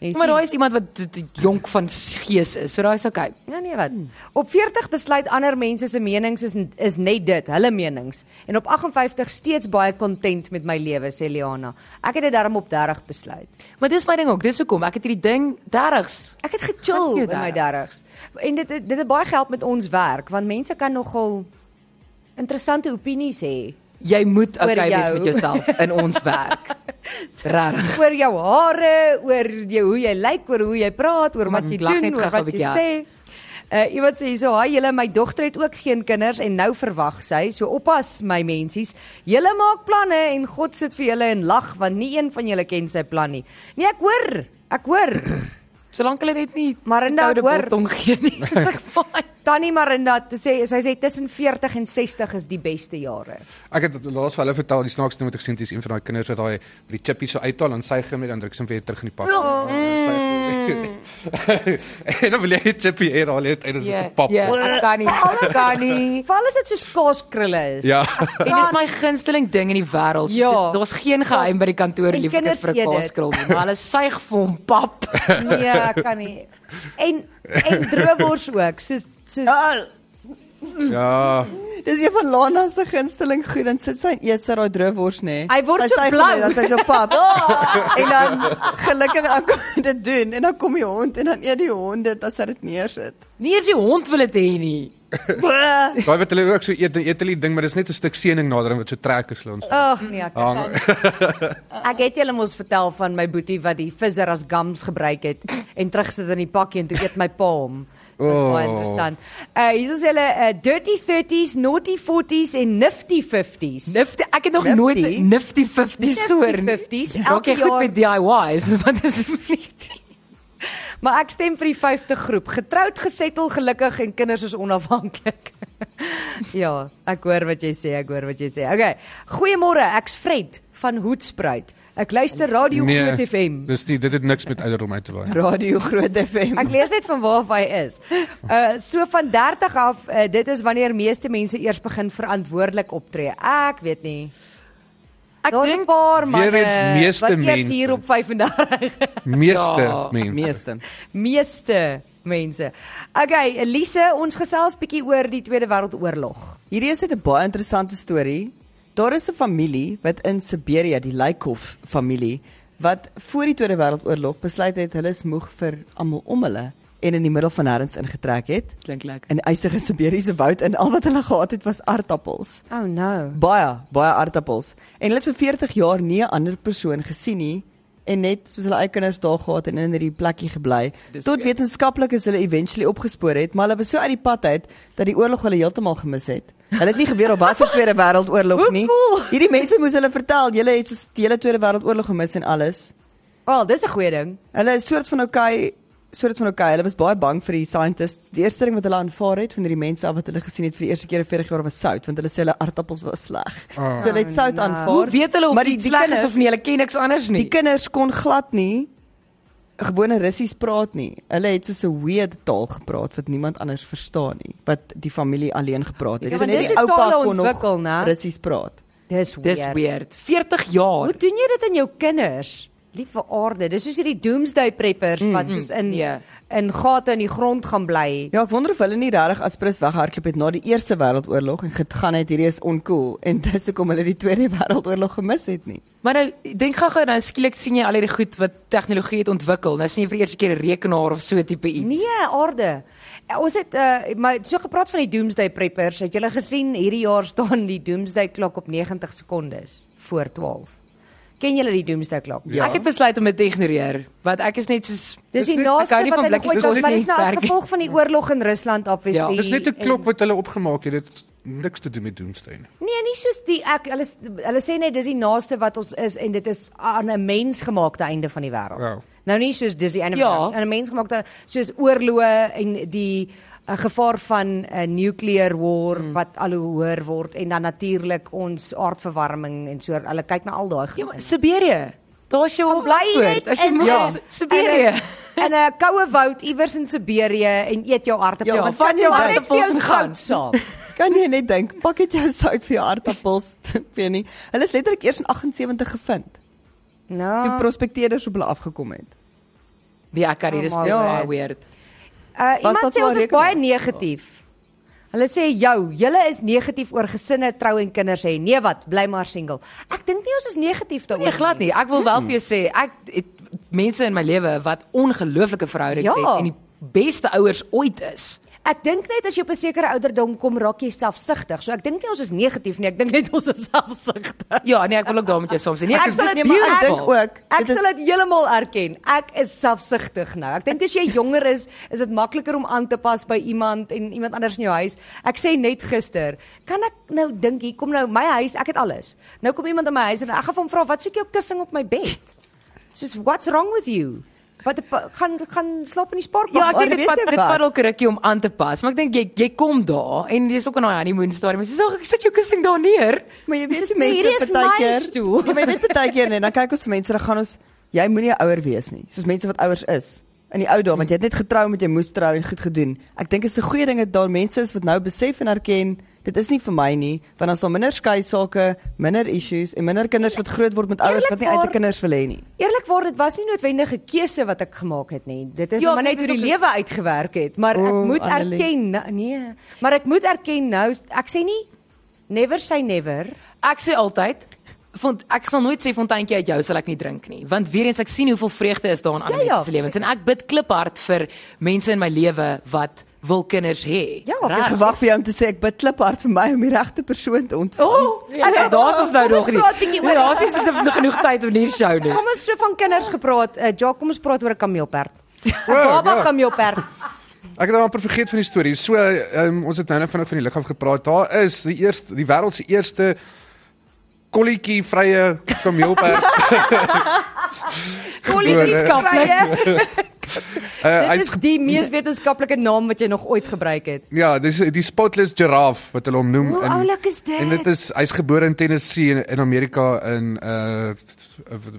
S2: Jy
S4: Maar
S2: sien.
S4: daai is iemand wat t- t- jonk van s- gees is. So daai is okay.
S2: Ja nee wat. Op 40 besluit ander mense se menings is is net dit, hulle menings. En op 58 steeds baie content met my lewe, sê Liana. Ek het dit daarom op 30 besluit.
S4: Maar dis my ding ook. Dis hoekom ek het hierdie ding 30s.
S2: Ek het gechill
S4: Dankie,
S2: in my
S4: 30s.
S2: 30s. En dit dit het baie gehelp met ons werk want mense kan nogal interessante opinies hê
S4: Jy moet
S2: Oor
S4: okay wees
S2: jou.
S4: met jouself in [laughs] ons werk. Regtig.
S2: oor jou hare, oor jou hoe jy lyk, oor hoe jy praat, oor
S4: Maar
S2: wat jy
S4: lag net
S2: doen, oor
S4: gou
S2: wat
S4: 'n
S2: jy
S4: bietjie
S2: sê. Uh iemand sê so, "Haai julle, my dogter het ook geen kinders en nou verwag sy, so oppas my mensies. Julle maak planne en God sit vir julle en lag want nie een van julle ken sy plan nie." Nee, ek hoor. Ek hoor. [clears throat]
S4: Solank hulle net nie
S2: Marinda,
S4: koude
S2: hoor.
S4: biltong gee nie. is ek fyn.
S2: Tannie Marinda te sê sy sê tussen 40 en 60 is die beste jare.
S5: Ek het dit laas vir hulle vertel, die snaaks ding wat ek sien het is een van daai kinders wat daai die chippie so uithaal en sy gee met dan druk sy hom weer terug in die pak.
S4: Mm.
S5: [laughs] en dan wil jy die chippie eer al uit en dit is so pap.
S4: ja, ek kan nie. Ek kan nie.
S2: Veral as eh, dit soos kaaskrulle is.
S5: Ja. [laughs]
S4: En dis my gunsteling ding in die wêreld.
S2: Ja.
S4: Dit- Daar's geen geheim by die kantoor
S2: En
S4: liefkes
S2: kinders
S4: vir
S2: eet dit.
S4: kaaskrol nie. Maar hulle suig vir hom pap. [laughs]
S2: Nee, ek kan nie. En en droewors ook, soos soos
S3: Ja,
S5: Ja.
S3: dis een van Lana se gunsteling goed. Dan sit sy en eet sy daai droewors nê.
S2: Hy word
S3: Sy
S2: so
S3: suig hom
S2: blou. Ah.
S3: net, Dan sy so
S2: [laughs]
S3: pap. en dan gelukkig dan kom hy dit doen en dan kom die hond en dan eet die hond dit as hy dit
S2: [laughs]
S3: neersit.
S4: Nie eens die hond wil dit hê nie.
S5: Daai wat hulle ook so eet, dan eet hulle die ding, maar dis net 'n stuk seëning nader wat so trek is hulle ons.
S4: Oh,
S2: Ag nee, ek kan
S4: ja,
S2: nie. Ek het julle mos vertel van my boetie wat die visser as gums gebruik het en terugsit in die pakkie en toe eet my pa hom. Dis oh. baie
S5: Oh.
S2: interessant. Uh hier is hulle uh, dirty 30s, naughty 40s en nifty 50s.
S4: Nifty, ek het nog
S3: Nifty?
S4: nooit Nifty 50s gehoor nie.
S2: 50s,
S4: Maak
S2: elke
S4: jy goed
S2: jaar.
S4: met [laughs] DIY's, want dit is nie
S2: Maar ek stem vir die 50 groep. Getroud, gesettel, gelukkig en kinders is onafhanklik. [laughs] ja, ek hoor wat jy sê, ek hoor wat jy sê. Okay. Goeiemôre, ek's Fred van Hoedspruit. Ek luister Radio nee. Groot FM.
S5: Dis nie dit het niks met ouderdom uit te maak.
S3: Radio Groot FM.
S2: Ek lees net van waar af hy is. Uh so van 30 af, uh, dit is wanneer meeste mense eers begin verantwoordelik optree. Ek weet nie.
S4: Ek
S2: Daar's 'n
S4: dink
S2: paar manne
S5: weer eens meeste
S2: wat eers
S5: mense.
S2: hier op 35
S5: Meeste
S4: Ja,
S5: ja, mense.
S3: Meeste.
S2: meeste mense. Okay, Elise, ons gesels bietjie oor die Tweede Wêreldoorlog.
S3: Hierdie is net 'n baie interessante storie. Daar is 'n familie wat in Siberië, die Lykhof familie, wat voor die Tweede Wêreldoorlog besluit het hulle is moeg vir almal om hulle en in die middel van nêrens ingetrek het
S4: klink lekker.
S3: in ysige Siberiese woud en al wat hulle gehad het was aardappels.
S2: Oh no.
S3: Baie, baie aardappels. En hulle het vir 40 jaar nie 'n ander persoon gesien nie en net soos hulle eie kinders daar gehad en in hierdie plekkie gebly.
S4: Dis
S3: Tot
S4: weer-
S3: wetenskaplikes hulle eventually opgespoor het, maar hulle was so uit die pad uit dat die oorlog hulle heeltemal gemis het. Hulle het nie geweet of
S2: [laughs]
S3: was 'n Tweede Wêreldoorlog
S2: Hoe
S3: nie.
S2: cool!
S3: Hierdie mense moes hulle vertel, julle het so die hele Tweede Wêreldoorlog gemis en alles.
S2: Wel, dis 'n goeie ding.
S3: Hulle is soort van okay, soort van okay. Hulle was baie bang vir die scientists. Die eerste ding wat hulle aanvaar het van hierdie mense af wat hulle gesien het vir die eerste keer in 40 jaar was sout, want hulle sê hulle aardappels was sleg.
S5: Oh.
S3: So hulle het sout
S2: Oh, no.
S3: aanvaar.
S4: Hoe weet hulle of
S3: maar
S4: dit sleg is
S3: kinders-
S4: of nie? Hulle ken niks anders nie.
S3: Die kinders kon glad nie gewone Russies praat nie. Hulle het so 'n weird taal gepraat wat niemand anders verstaan nie, wat die familie alleen gepraat het.
S2: Ja,
S3: so
S2: want
S3: net
S2: dis
S3: die
S2: hoe
S3: oupa
S2: tale
S3: kon
S2: ontwikkel, né?
S3: nog Russies praat.
S2: Dis
S4: Dis
S2: weird.
S4: weird. 40
S2: Hoe
S4: jaar.
S2: doen jy dit aan jou kinders? Liewe aarde, dis soos hierdie doomsday preppers wat soos in
S4: nee.
S2: in gate in die grond gaan bly.
S3: Ja, ek wonder of hulle nie regtig as prins weghardloop het na die Eerste Wêreldoorlog en gegaan het hierdie is oncool en [laughs] dis hoekom hulle die Tweede Wêreldoorlog gemis het nie.
S4: Maar nou dink gou-gou dan skielik sien jy al hierdie goed wat tegnologie het ontwikkel. Nou sien jy vir die eerste keer 'n rekenaar of so tipe iets.
S2: Nee, aarde. Eh, Ons het uh maar so gepraat van die doomsday preppers. Het julle gesien hierdie jaar staan die doomsday klok op 90 sekondes voor 12. Ken julle die doomsday klok?
S5: Ja.
S4: Ek het besluit om dit te ignoreer, want ek is net soos
S2: Dis die
S5: Dis net-
S4: ek hou
S2: naaste
S4: nie
S2: wat
S4: van
S2: hulle
S4: blikkies,
S2: ooit
S4: dis
S2: was,
S4: ons
S2: maar
S4: nie
S2: dis nou as
S4: werk nie.
S2: gevolg van die oorlog in Rusland obviously.
S4: Ja,
S5: Dis net 'n
S2: en-
S5: klok wat hulle opgemaak het. Dit het niks te doen met Doomsday nie.
S2: Nee, nie soos die ek hulle hulle sê net dis die naaste wat ons is en dit is aan 'n mensgemaakte einde van die wêreld.
S5: Ja.
S2: Nou nie soos dis die einde
S4: Ja.
S2: van die wêreld, aan 'n mensgemaakte soos oorloë en die uh, gevaar van 'n uh, nuclear war
S4: Hmm.
S2: mm. wat al hoe hoër word en dan natuurlik ons aardverwarming en so. Hulle kyk na al daai
S4: Ja,
S2: goed.
S4: maar Siberië. Daar's jou
S2: net
S4: antwoord. As jy
S2: in-
S4: moet
S5: Ja.
S4: [laughs] Siberië.
S2: In 'n koue woud iewers in Siberië en eet jou aardappels.
S3: Ja,
S2: Ja,
S3: want kan jy
S2: maar
S3: dan-
S2: net vir jou
S4: aardappels gaan.
S2: goud saam.
S3: Kan jy net dink, pak dit jou sout vir jou [laughs] aardappels, weet nie. Hulle is letterlik eers in 78 gevind toe
S2: [laughs] Nou.
S3: prospekteerders op hulle afgekom het.
S4: Nee, ek kan nie, dis
S2: Oh,
S4: baie
S3: maar-
S4: ja. weird.
S2: Uh,
S3: Was
S2: iemand
S3: dat
S2: sê
S3: wel
S2: ons is
S3: rekening?
S2: baie negatief. Hulle sê jou, julle is negatief oor gesinne, trou en kinders hê. Nee wat, bly maar single. Ek dink nie ons is negatief daaroor
S4: Nee, glad nie. Ek wil wel vir jou sê, ek het mense in my lewe wat ongelooflike verhoudings
S2: Ja.
S4: het en die beste ouers ooit is.
S2: Ek dink net as jy op 'n sekere ouderdom kom raak jy selfsugtig. So ek dink nie ons is negatief nie, ek dink net ons is [laughs] selfsugtig.
S4: Ja, nee, ek wil ook daarom met jou saam sê. Nee,
S2: Ek
S4: ek
S2: sal
S4: dis
S2: dit-
S3: Nee, maar ek dink
S4: beautiful.
S3: ook
S2: Ek
S3: dit is-
S2: sal dit heeltemal erken. Ek is selfsugtig nou. Ek dink as jy jonger is, is dit makliker om aan te pas by iemand en iemand anders in jou huis. Ek sê net gister, kan ek nou dink hier kom nou my huis, ek het alles. Nou kom iemand in my huis en ek gaan vir hom vra, "Wat soek jy op kussing op my bed?" Soos, "What's wrong with you?" Wat gaan gaan slaap in die spaarpak?
S4: Ja, ek
S3: Maar
S4: dink dit
S3: weet
S4: vat
S3: jy
S4: dit
S3: wat?
S4: vat al rukkie om aan te pas, maar ek dink jy jy kom daar en jy's ook in daai honeymoon stadium. Jy sê, "Ag, ek sit jou kussing daar neer."
S3: Maar jy weet die
S2: hierdie is
S3: mense
S2: my
S3: partykeer,
S2: stoel.
S3: Ja, maar jy weet partykeer en dan kyk ons vir mense, dan gaan ons jy moenie 'n ouer wees nie, soos mense wat ouers is. In die ou dae, want jy het net getrou met jy moes trou en goed gedoen. Ek dink dit is 'n goeie ding dat daar mense is wat nou besef en erken dit is nie vir my nie, want dan sal minder skei sake, minder issues en minder kinders wat groot word met ouers wat nie uit
S2: Eerlikwaar-
S3: die kinders wil hê nie.
S2: Eerlikwaar, dit was nie noodwendig 'n keuse wat ek gemaak het nie. Dit is
S4: Ja,
S2: ja, maar net
S4: dit
S2: hoe
S4: is
S2: die
S4: ook-
S2: lewe uitgewerk het, maar ek
S3: O,
S2: moet
S3: Annelie.
S2: erken nou- nee, maar ek moet erken nou, ek sê nie never say never.
S4: Ek sê altyd Font, ek sal nooit sê fonteintjie uit jou sal ek nie drink nie, want weer eens ek sien hoeveel vreugde is daar in ander
S2: Ja, ja,
S4: mense se lewens en ek bid kliphard vir mense in my lewe wat wil kinders hê.
S2: Ja,
S3: Ek het
S4: Regtig.
S3: gewag vir jou om te sê ek bid kliphard vir my om die regte persoon te ontvang.
S2: Oh.
S4: O, ja, okay, daar's ons nou
S2: Kom ons
S4: nog nie.
S2: praat bietjie oor-
S4: Nee, Daar's nie sit- nog genoeg tyd om hier show nie.
S2: Kom ons so van kinders gepraat. Uh, ja, kom ons praat oor 'n kameelperd. 'n Baba
S5: ja.
S2: kameelperd.
S5: Ek het nou amper vergeet van die storie. So, um, ons het nou net vinnig van die liggaam gepraat. Daar is die eerste die wêreld se eerste kolletjie vrye kameelperd. eh,
S4: [laughs]
S2: Kolletjieskaplike.
S5: uh,
S2: Dit
S5: hy's
S2: is die mees wetenskaplike naam wat jy nog ooit gebruik het.
S5: Ja, dis die spotless giraffe wat hulle hom noem.
S2: Hoe
S5: in-
S2: oulik is dit?
S5: En dit is hy's gebore in Tennessee in, in Amerika in uh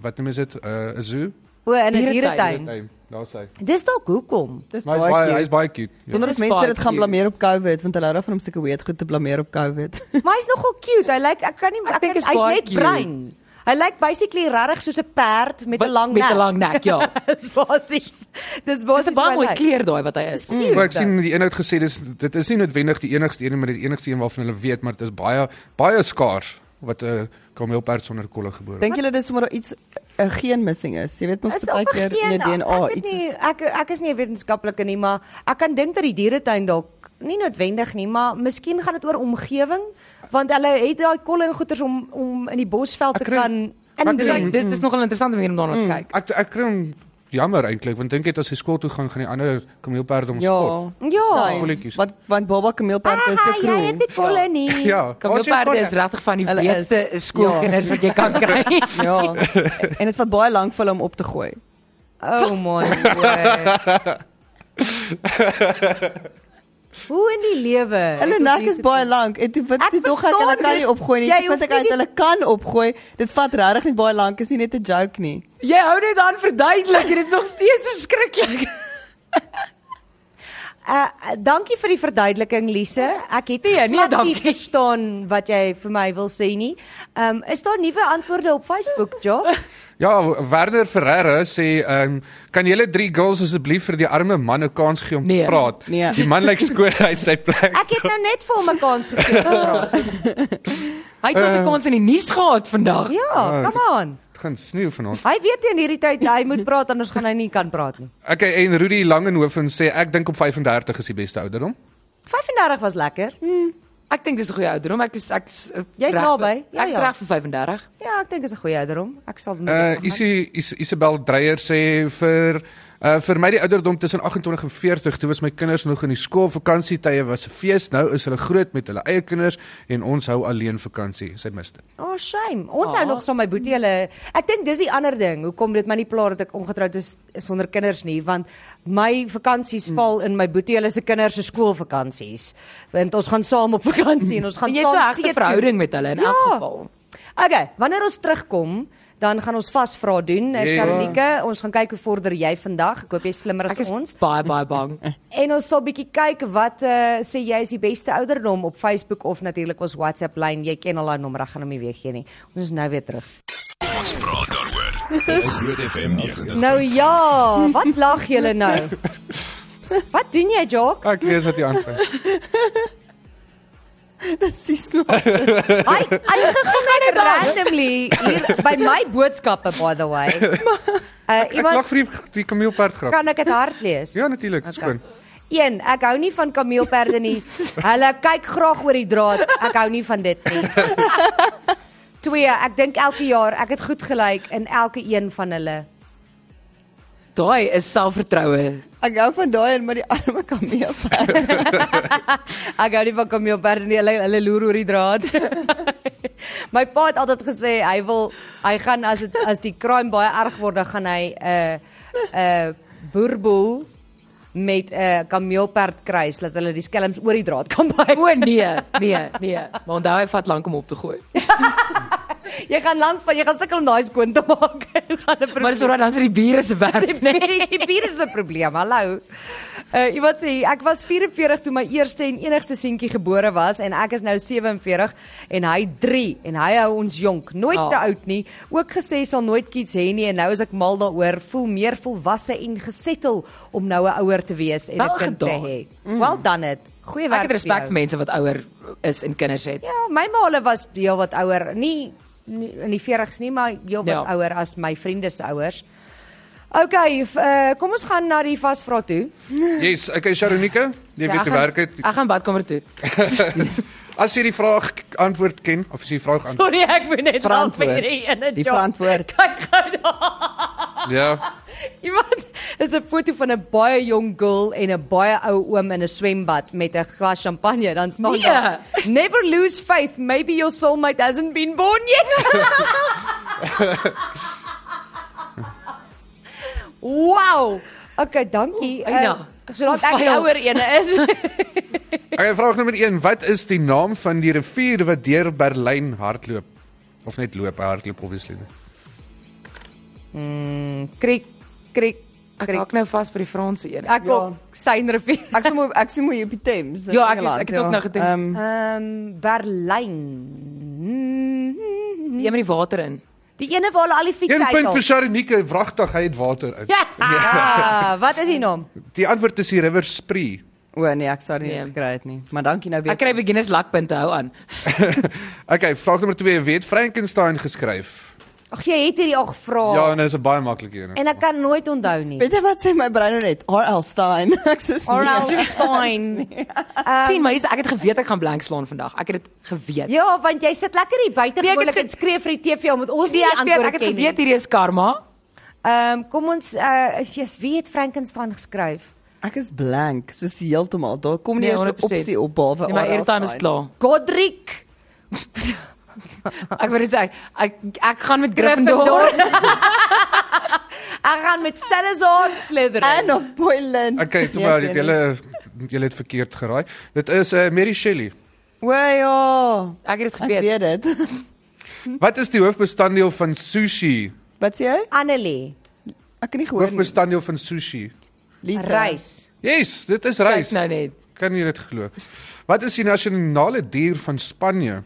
S5: wat noem is dit? Uh 'n zoo?
S2: O, in 'n
S4: Dieretuin.
S2: dieretuin.
S5: Nee, daar's hy.
S2: Dis dalk hoekom.
S3: Dis
S5: Maar hy's baie
S3: baie.
S5: hy's
S3: cute.
S5: baie cute. Ja.
S3: Wonder of
S4: Dis
S3: mense
S4: baie
S3: dit gaan
S4: cute.
S3: blameer op COVID, want hulle hou daarvan om sulke weet goed te blameer op COVID.
S2: Maar hy's nogal cute. Hy lyk ek kan nie
S4: Ek
S2: ek
S4: dink
S2: dink
S4: is
S2: hy's
S4: baie
S2: net
S4: cute.
S2: bruin. Hy lyk basically regtig soos 'n perd met 'n lang nek.
S4: met 'n lang nek, ja.
S2: [laughs] Dis basies. Dis
S4: Dis 'n
S2: basies
S4: baie
S2: hoe hy
S4: mooi
S2: lyk.
S4: kleur daai wat hy is.
S2: Dis cute,
S5: Maar ek
S2: ou.
S5: sien die inhoud gesê dis dit is nie noodwendig die enigste een maar die enigste een waarvan hulle weet, maar dit is baie baie skaars wat 'n kameelperd sonder kolle gebore
S3: Dink julle dis sommer daar iets 'n geen missing is? Jy weet mos
S2: Is of
S3: baie keer in jou
S2: geen-
S3: DNA
S2: ek weet
S3: iets
S2: nie,
S3: is.
S2: Ek ek is nie 'n wetenskaplike nie, maar ek kan dink dat die dieretuin dalk nie noodwendig nie, maar miskien gaan dit oor omgewing want hulle het daai kolle en goeters om om in die bosveld te
S5: Ek dink-
S2: kan in
S4: Dis
S2: dit
S4: like, dit is nog 'n interessante manier om daarna
S2: Mm.
S4: te kyk.
S5: Ek ek kry hom jammer eintlik want dink ek as hy skool toe gaan gaan die ander kameelperde hom
S3: Ja.
S5: spot.
S2: Ja.
S5: Sy. Voelietjies.
S3: Want want Baba Kameelperd is 'n
S2: jy het
S3: kroon.
S2: Ah, ja, dit volle nie.
S3: Ah.
S5: Ja,
S4: Kameelperde is regtig van die
S3: Hulle is-
S4: breedste skoolkinders wat jy
S3: [laughs]
S4: kan kry.
S3: Ja. En dit vat baie lank vir hulle om op te gooi.
S2: Oh my word. Hoe in die lewe?
S3: Hulle nek is baie lank en toe vind
S2: Ek
S3: dit tog ek
S2: verstaan
S3: hulle kan
S2: dit.
S3: nie opgooi nie.
S2: Jy
S3: Toe Vind
S2: hoef
S3: ek
S2: nie
S3: uit
S2: die-
S3: hulle kan opgooi. Dit vat regtig net baie lank. Is nie net 'n joke nie.
S4: Jy hou net aan verduidelik en dit is nog steeds
S3: [laughs]
S4: verskriklik.
S2: Uh, uh, dankie vir die verduideliking Lise. Ek het nee,
S4: nee, dankie.
S2: verstaan wat jy vir my wil sê nie. Ehm um, is daar nuwe antwoorde op Facebook, Jo?
S5: Ja, Werner Ferreira sê ehm um, kan julle drie girls asseblief vir die arme man 'n kans gee om
S4: Nee.
S5: te praat?
S3: Nee.
S5: Die man lyk skoon uit sy plek.
S2: Ek het nou net vir hom 'n kans gegee. Sandra.
S4: Hy het nog
S3: Eh.
S4: 'n kans in die nuus gehad vandag.
S2: Ja, come on.
S5: Dit gaan sneeu vanaand.
S2: Hy weet teen hierdie tyd hy moet praat anders gaan hy nie kan praat nie.
S5: Okay, en Rudy Langenhoven sê ek dink op 35 is die beste ouderdom.
S2: 35 was lekker.
S4: Ek dink dis 'n goeie ouderdom. Ek is ek's
S2: Jy's naby. Ja,
S4: ek's
S2: ja.
S4: reg vir 35.
S2: Ja, ek dink is 'n goeie ouderdom. Ek sal
S5: Uh
S2: moet-
S5: Isi Is, Isabel Dreyer sê vir uh vir my die ouderdom tussen 28 en 40, toe was my kinders nog in die skool, vakansietye was 'n fees. Nou is hulle groot met hulle eie kinders en ons hou alleen vakansie. Sy mis dit.
S2: Oh shame. Ons
S4: Ah.
S2: hou nog so my boetie hulle. Ek dink dis die ander ding hoekom dit my nie pla dat ek ongetroud is sonder kinders nie, want my vakansies
S4: Hmm.
S2: val in my boetie hulle se kinders se skoolvakansies. Want ons gaan saam op vakansie en ons gaan
S4: En jy het so 'n
S2: saam see
S4: regte
S2: toe.
S4: verhouding met hulle in
S2: Ja.
S4: elk geval.
S2: Okay, wanneer ons terugkom, dan gaan ons vasvra doen.
S5: Ja.
S2: Sharnike, ons gaan kyk hoe vorder jy vandag. Ek hoop jy's slimmer
S4: Ek
S2: as
S4: is
S2: ons.
S4: baie baie bang.
S3: [laughs]
S2: En ons sal bietjie kyk wat uh, sê jy is die beste ouderdom op Facebook of natuurlik ons WhatsApp lyn. Jy ken al haar nommer, ek gaan hom nie weer gee nie. Ons is nou weer terug.
S1: Ons praat daaroor op Groot FM 90.5.
S2: Nou ja, wat lag julle nou? Wat doen jy, Jock?
S5: Ek lees wat jy aanvang.
S3: Dis is nou.
S2: Hy hy gaan net randomly hier by my boodskappe by the [laughs] way. Uh
S5: Ek lag
S2: iemand
S5: vir die, die kameelperd grap.
S2: kan ek dit hard lees?
S5: Ja natuurlik, okay. skoon.
S2: 1. Ek hou nie van kameelperde nie. Hulle kyk graag oor die draad. Ek hou nie van dit [laughs] nie. 2. Ek dink elke jaar ek het goed gelyk in elke een van hulle.
S4: Daai is selfvertroue.
S3: Ek hou van daai en met die arme kameelperd.
S2: [laughs] Ek hou nie van kameelperde nie. Hulle hulle loer oor die draad. [laughs] My pa het altyd gesê hy wil hy gaan as dit as die crime baie erg word, dan gaan hy 'n uh, 'n uh, boerboel met 'n uh, kameelperd kry sodat hulle die skelms oor die draad kan byt.
S4: O nee, nee, nee. Maar onthou hy vat lank om op te gooi.
S2: [laughs] Jy gaan lank van jy gaan sukkel om daai skoon te maak. [laughs] Dit gaan 'n
S4: Maar dis oor dan is die biere
S2: [laughs]
S4: se [laughs] werk.
S2: Nee, die bier is 'n probleem. Hallo. Uh iemand sê ek was 44 toe my eerste en enigste seentjie gebore was en ek is nou 47 en hy 3 en hy hou ons jonk, nooit
S4: Ah.
S2: te oud nie. Ook gesê sal nooit kids hê nie en nou is ek mal daaroor, voel meer volwasse en gesettel om nou 'n ouer te wees en 'n
S4: Wel
S2: kind
S4: gedaan. Mm.
S2: te hê. Well done it. Goeie werk.
S4: Ek
S2: vir jou.
S4: het respek vir mense wat ouer is en kinders het.
S2: Ja, my ma hulle was heel wat ouer, nie, nie in die 40's nie, maar heel wat
S4: Ja.
S2: ja. ouer as my vriende se ouers. OK, f- uh, kom ons gaan na die vasvra toe.
S4: [laughs]
S5: Yes, okay Sharonika, jy ja,
S4: Ja, ek
S5: weet te
S4: gaan-
S5: werk uit.
S4: Ek gaan badkamer toe.
S5: As jy die vraag k- antwoord ken of as jy die vraag antwoord.
S4: Sorry, Nee, ek moet net al
S3: Verantwoord.
S4: vir die ene
S3: Die
S4: job.
S3: verantwoord.
S4: Kyk gou daar.
S5: Ja.
S2: [laughs] Iemand is 'n foto van 'n baie jong girl en 'n baie ou oom in 'n swembad met 'n glas champagne. Dan staan
S4: Nee.
S2: daar: Never lose faith, maybe your soulmate hasn't been born [laughs] yet. wow. Okay, dankie.
S4: Oeh, Eina,
S2: Eh, sodat ek die
S4: hoeveel-
S2: ouer ene [laughs] is.
S5: Okay, vraag nommer 1, wat is die naam van die rivier wat deur Berlyn hardloop? Of net loop, hy hardloop obviously nie.
S2: Mm, Kriek, kriek,
S4: Ek
S2: kriek.
S4: raak nou vas by die Franse een.
S2: Ek kom Synrivier.
S3: Ek sê moet ek sê moet jy op die Thames. in
S4: Ja, ek het-
S3: Engeland,
S4: ek het ook
S3: ja.
S4: nou gedink.
S3: Ehm,
S2: Ehm Berlyn.
S4: Jy met die water in.
S2: Die ene waar hulle al die fietsse
S5: 1 punt
S2: [laughs]
S5: vir
S2: uithaal.
S5: Sharonika, wragtig, hy het water uit.
S2: Ja. Ah, wat is die naam?
S5: Die antwoord is die River Spree.
S3: O nee, ek sou dit nie
S4: Nee.
S3: gekry het nie. Maar dankie nou weer.
S4: Ek kry
S2: Ehm,
S4: beginners lakpunte hou aan.
S5: Okay, vraag nommer 2, wie het Frankenstein geskryf?
S2: Ag jy het hierdie al gevra.
S5: Ja, en dit is 'n baie maklike een.
S2: en ek kan nooit onthou nie.
S3: Weet jy wat sê my brein nou net? RL Stein. [laughs] Ek sê
S2: Oral
S5: [laughs]
S2: fine.
S5: Nee.
S2: Ehm,
S4: Sien my, ek het geweet ek gaan blank slaan vandag. Ek het dit geweet.
S2: Ja, want jy sit lekker hier buite
S4: Nee, ek het
S2: gewoonlik
S4: ge-
S2: en skree vir die TV omdat ons nie
S4: Nee,
S2: die
S4: ek weet,
S2: antwoord
S4: ek het
S2: ken nie.
S4: geweet hierdie is karma.
S2: Ehm kom ons uh jy's wie het Frankenstein geskryf?
S3: Ek is blank, soos heeltemal. Daar kom nie
S4: Nee,
S3: eens 'n
S4: 100%.
S3: opsie op behalwe
S4: Nee, my
S3: RL
S4: airtime is
S3: Stein.
S4: klaar.
S2: Godric
S4: Ek wil net sê ek ek- ek gaan met
S2: Gryffindor.
S4: Gryffindor. [laughs]
S2: Ek gaan met Salazar Slytherin.
S3: Anne of Boylan.
S5: Ek kyk toe maar dit julle julle het verkeerd geraai. Dit is eh, Mary Shelley.
S3: Wee ja.
S4: Ek het
S3: Ek
S4: dit geweet.
S3: weet dit.
S5: Wat is die hoofbestanddeel van sushi?
S3: [laughs] Wat sê jy?
S2: Annelie,
S3: Ek kan nie gehoor nie.
S5: Hoofbestanddeel van sushi.
S3: Lisa. [laughs]
S2: reis.
S5: Yes, dit is
S4: Kyk
S5: rys.
S4: nou net.
S5: Kan jy dit glo? Wat is die nasionale dier van Spanje?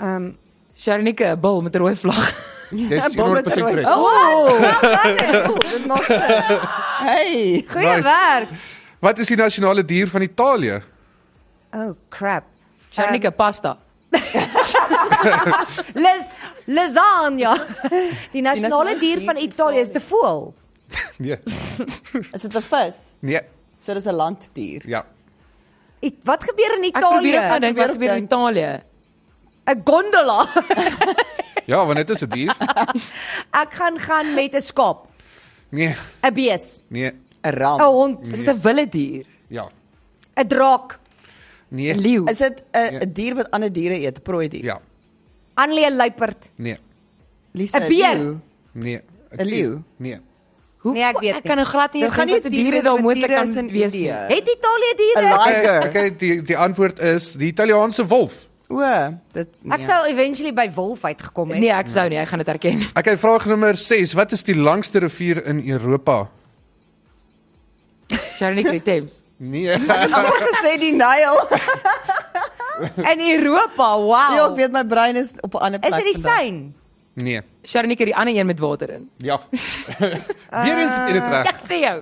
S2: Ehm
S4: Sharnika, 'n bil met 'n rooi vlag.
S5: Dis
S3: Ja, bal met
S5: 100%
S3: rooi.
S5: reg.
S3: [laughs]
S4: Oh!
S3: Cool, [laughs] dit maak sin. Hey.
S2: goeie
S5: Nice.
S2: werk.
S5: Wat is die nasionale dier van Italië? [laughs]
S2: Oh crap.
S4: Sharnika pasta.
S2: Les
S4: [laughs]
S2: lasagna. Ehm, Die nasionale dier van Italië is die voël.
S5: Nee.
S3: Is dit 'n vis?
S5: Nee.
S3: So dis 'n landdier.
S5: Ja.
S2: It- Wat gebeur in
S4: Ek probeer ook aan
S2: Italië?
S4: dink wat gebeur in
S3: dink.
S4: Italië.
S2: 'n Gondola. [laughs]
S5: Ja, want dit is 'n dier.
S2: Ek gaan gaan met 'n skaap,
S5: Nee.
S2: 'n bees,
S5: Nee.
S3: 'n Ram.
S2: 'n
S4: Oh,
S2: hond,
S4: Is dit 'n wilde dier?
S5: Ja.
S2: 'n draak.
S5: Nee.
S4: 'n Leeu.
S3: Is dit 'n 'n dier wat ander diere eet, 'n prooi dier?
S5: Ja.
S2: Annelie 'n luiperd.
S5: Nee.
S3: Lisa.
S2: 'n beer.
S3: leeu.
S5: Nee.
S3: 'n leeu.
S5: Nee.
S4: Hoe
S2: Nee, ek weet
S4: Ek kan nou glad nie
S3: Dit gaan
S4: dink
S3: nie
S4: wat 'n dier is daar moontlik kan wees nie.
S2: Het Italië diere?
S3: Een laai- Tiger.
S5: Okay, okay, die die antwoord is die Italiaanse wolf.
S3: O, dit nee.
S2: Ek sou eventually by wolf uitgekom het.
S4: Nee, ek sou nie, ek gaan dit erken. [laughs]
S5: Okay, vraag nommer 6. Wat is die langste rivier in Europa?
S4: Sharnika die Thames.
S5: Nee. [laughs]
S3: Almal gesê die
S4: [laughs]
S3: Nile.
S2: In Europa, wow.
S3: Ja, ek weet my brein is op 'n ander plek.
S2: is dit die
S3: vandag.
S2: sein?
S5: Nee.
S4: Sharnika die ander een met water in.
S5: Ja. [laughs] Weer eens het jy dit reg.
S4: Ja, Ek sê [laughs] jou.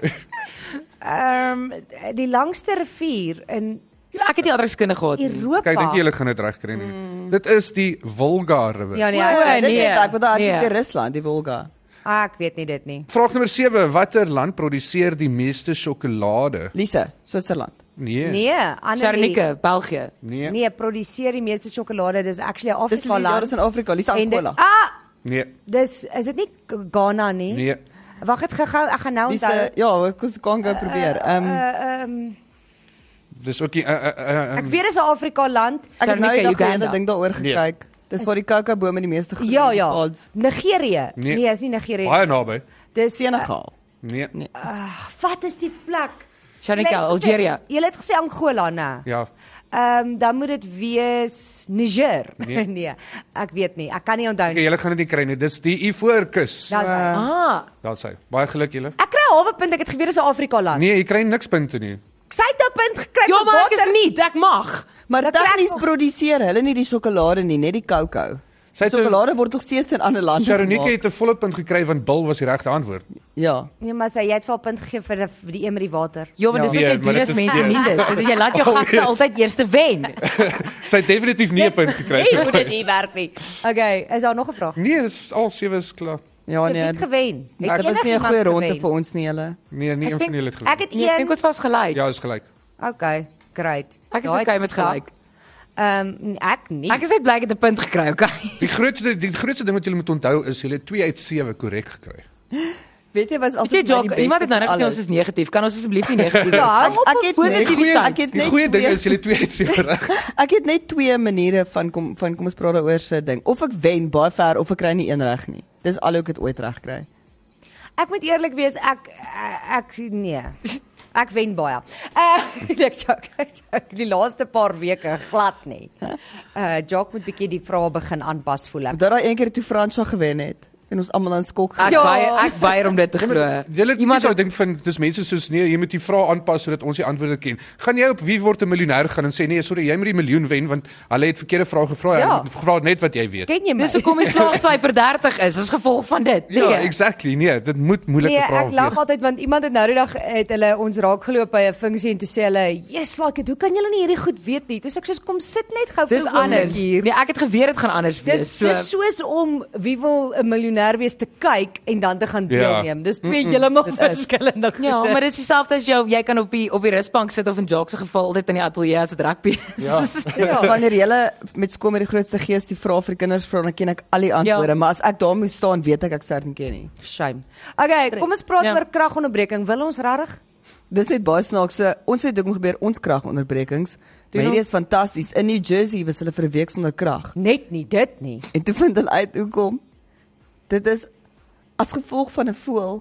S2: Ehm die langste rivier in
S4: Ja, Ek het nie adreskunde gehad
S5: [laughs]
S4: nie.
S2: Europa.
S5: Okay, dink jy hulle gaan dit reg kry nie. Dit is die Volga rivier.
S2: Mm. Ja nee,
S3: O,
S2: ek,
S4: Ja.
S3: dit
S4: nee,
S3: weet Ek wat daar
S4: nee.
S3: in Rusland, die Volga.
S2: ah, ek weet nie dit nie.
S5: Vraag nommer 7. Watter land produseer die meeste sjokolade?
S3: Lisa, Switserland.
S5: Nee.
S2: Nee, Annelie.
S4: Sharnika, België.
S5: Nee.
S2: Nee, produseer die meeste sjokolade, dis actually
S3: Dis
S2: Afrika
S3: die daar is
S2: land.
S3: in Afrika, Lisa
S2: En dit
S3: Angola.
S2: ah,
S5: Nee.
S2: dis is dit nie K- Ghana nie?
S5: Nee.
S2: Wag, dit gou-gou, ek gaan nou onthou.
S3: Lisa, ja, ek kos Kongo probeer. Ehm
S2: Ehm
S5: Dis ook die uh, uh, uh,
S2: ek weet dis 'n Afrika land.
S3: Ek het nou
S4: Sharnika,
S3: eendag
S4: Uganda.
S3: hierdie ding daaroor
S5: Nee.
S3: gekyk. Dis waar die kakaobome die meeste groei.
S2: Ja, ja.
S3: Odds.
S2: Nigerië.
S5: Nee.
S2: Nee, is nie Nigerië.
S5: baie naby.
S2: Dis
S3: Senegal.
S5: Nee.
S3: Nee.
S2: Wat is die plek?
S4: Sharnika, Algeria.
S2: Jy het gesê Angola, né?
S5: Ja.
S2: Ehm um, dan moet dit wees Niger.
S5: Nee. Ja.
S2: Nee. [laughs] nee, ek weet nie. Ek kan nie onthou
S5: Okay,
S2: nie.
S5: julle gaan dit nie kry nie. Dis die Ivoorkus.
S2: Daar's
S5: Ja.
S2: hy.
S4: Ah,
S5: Daar's hy. Baie geluk julle.
S2: Ek kry 'n halwe punt. Ek het geweet dis 'n Afrika land. Nee.
S5: Nee, jy kry niks punte nie.
S2: Ek sê dit 'n punt gekry
S4: ja,
S2: vir
S4: maar ek
S2: water.
S4: is nie, ek mag.
S3: Maar
S2: Dan kry ek
S3: tegnies
S2: nog-
S3: produseer hulle nie die sjokolade nie, net die kakao.
S5: Sy het
S3: Sjokolade word nog steeds in ander lande
S5: Sharonike
S3: gemaak.
S5: het 'n volle punt gekry want Bill was die regte antwoord. [laughs]
S3: Ja.
S2: Nee, maar sy jy het vir 'n punt gegee vir die- vir die een met die water.
S4: Ja, want dis wat
S5: Ja,
S4: jy
S5: maar
S4: doen
S5: dit
S4: as
S5: is-
S4: mense
S5: ja.
S4: nie dit. Dit- Jy
S5: [laughs]
S4: laat jou gaste altyd eerste [laughs] wen.
S5: Sy het definitief nie 'n punt gekry
S2: Nee, hoe
S5: nie.
S2: dit nie werk nie. Okay, is daar nog 'n vraag?
S5: Nee, dis al sewe is klaar.
S3: Ja
S2: Sophie
S3: nee.
S2: het gewen. Het
S3: Dit was nie 'n
S2: enigiemand
S3: goeie ronde
S2: gewen?
S3: vir ons nie hulle.
S5: Nee, nie
S4: Ek
S5: een van
S4: dink-
S5: julle het
S2: Ek
S5: gelyk.
S2: het
S4: Nee, ek dink
S2: een.
S4: ons was gelyk.
S5: Ja, is gelyk.
S2: Okay, great.
S4: Ek is
S2: Daai
S4: okay
S2: het
S4: met
S2: gesak.
S4: gelyk.
S2: Ehm um, ek nie.
S4: Ek is net bly ek het 'n punt gekry, okay.
S5: Die grootste die grootste ding wat julle moet onthou is julle het 2 uit 7 korrek gekry.
S3: Weet jy was
S4: Jy
S3: altyd
S4: jog, iemand het nou net gesê ons is negatief. Kan ons asseblief nie [laughs] negatief wees?
S2: Ja,
S4: nie?
S2: hou op
S3: Ek
S2: om
S3: het
S5: Die
S4: positief-
S3: net, Nee,
S5: goeie
S3: Ek het
S5: die
S3: net
S5: goeie ding
S3: twee-
S5: is julle 2 uit 7
S2: [laughs]
S5: reg.
S3: ek het net twee maniere van kom van kom ons praat daaroor se ding. Of ek wen baie ver of ek kry nie een reg nie. Dis al hoe ek dit ooit reg kry.
S2: Ek moet eerlik wees, ek ek nee. Ek wen baie. Uh [laughs] ek joke, ek joke. Die laaste paar weke glad Eh, nie. Uh Jock moet bietjie die vrae begin aanpas voel ek.
S3: Dat daai een keer toe Franswa gewen het. en ons almal aan skok.
S4: Ek
S2: Ja.
S4: weier ek weier om dit te glo.
S5: Julle
S4: Iemand
S5: iemand sou dink van dis mense soos nee, jy moet die vrae aanpas sodat ons die antwoorde ken. Gaan jy op wie word 'n miljonair gaan en sê nee, sorry, jy moet die miljoen wen want hulle het verkeerde vrae gevra.
S2: Ja.
S5: Ja. Hulle het gevra net wat jy weet.
S2: Ken jy my?
S4: Dis hoekom die slaagsyfer 30 is, as gevolg van dit.
S5: Ja,
S4: Nee.
S5: exactly. Nee, dit moet moeilike
S2: Nee,
S5: vrae
S2: ek
S5: wees.
S2: lag altyd want iemand het nou die dag het hulle ons raak geloop by 'n funksie en toe sê hulle, "Jesus, like, dit, hoe kan julle nie hierdie goed weet nie?" Toe sê ek soos kom sit net gou vir
S4: Dis
S2: 'n oomblik
S4: anders.
S2: hier.
S4: Nee, ek het geweet dit gaan anders wees.
S2: Dis
S4: so
S2: dis soos om wie wil 'n miljonair wees te kyk en dan te gaan
S5: Ja.
S2: deelneem. Dis twee heeltemal [laughs] verskillende goed.
S4: Ja, maar dit is dieselfde as jou, jy kan op die op die rusbank sit of in Jacques se geval altyd in die ateljee as 'n rugby. [laughs]
S2: [laughs]
S4: Ja.
S3: Dis ja. wanneer jy met skool met die grootste gees die vrae vir die kinders vra, dan ken ek al die antwoorde, ja.
S4: Ja.
S3: maar as ek daar moet staan, weet ek ek sou dit nie ken nie.
S2: shame. Okay, kom ons praat
S4: Ja.
S2: oor kragonderbreking. Wil ons regtig?
S3: Dis net baie snaaks. So, Ons weet hoekom gebeur ons kragonderbrekings. Maar hierdie is fantasties. In New Jersey was hulle vir 'n week sonder krag.
S2: Net nie dit nie.
S3: En toe vind hulle uit hoekom. Dit is as gevolg van 'n voël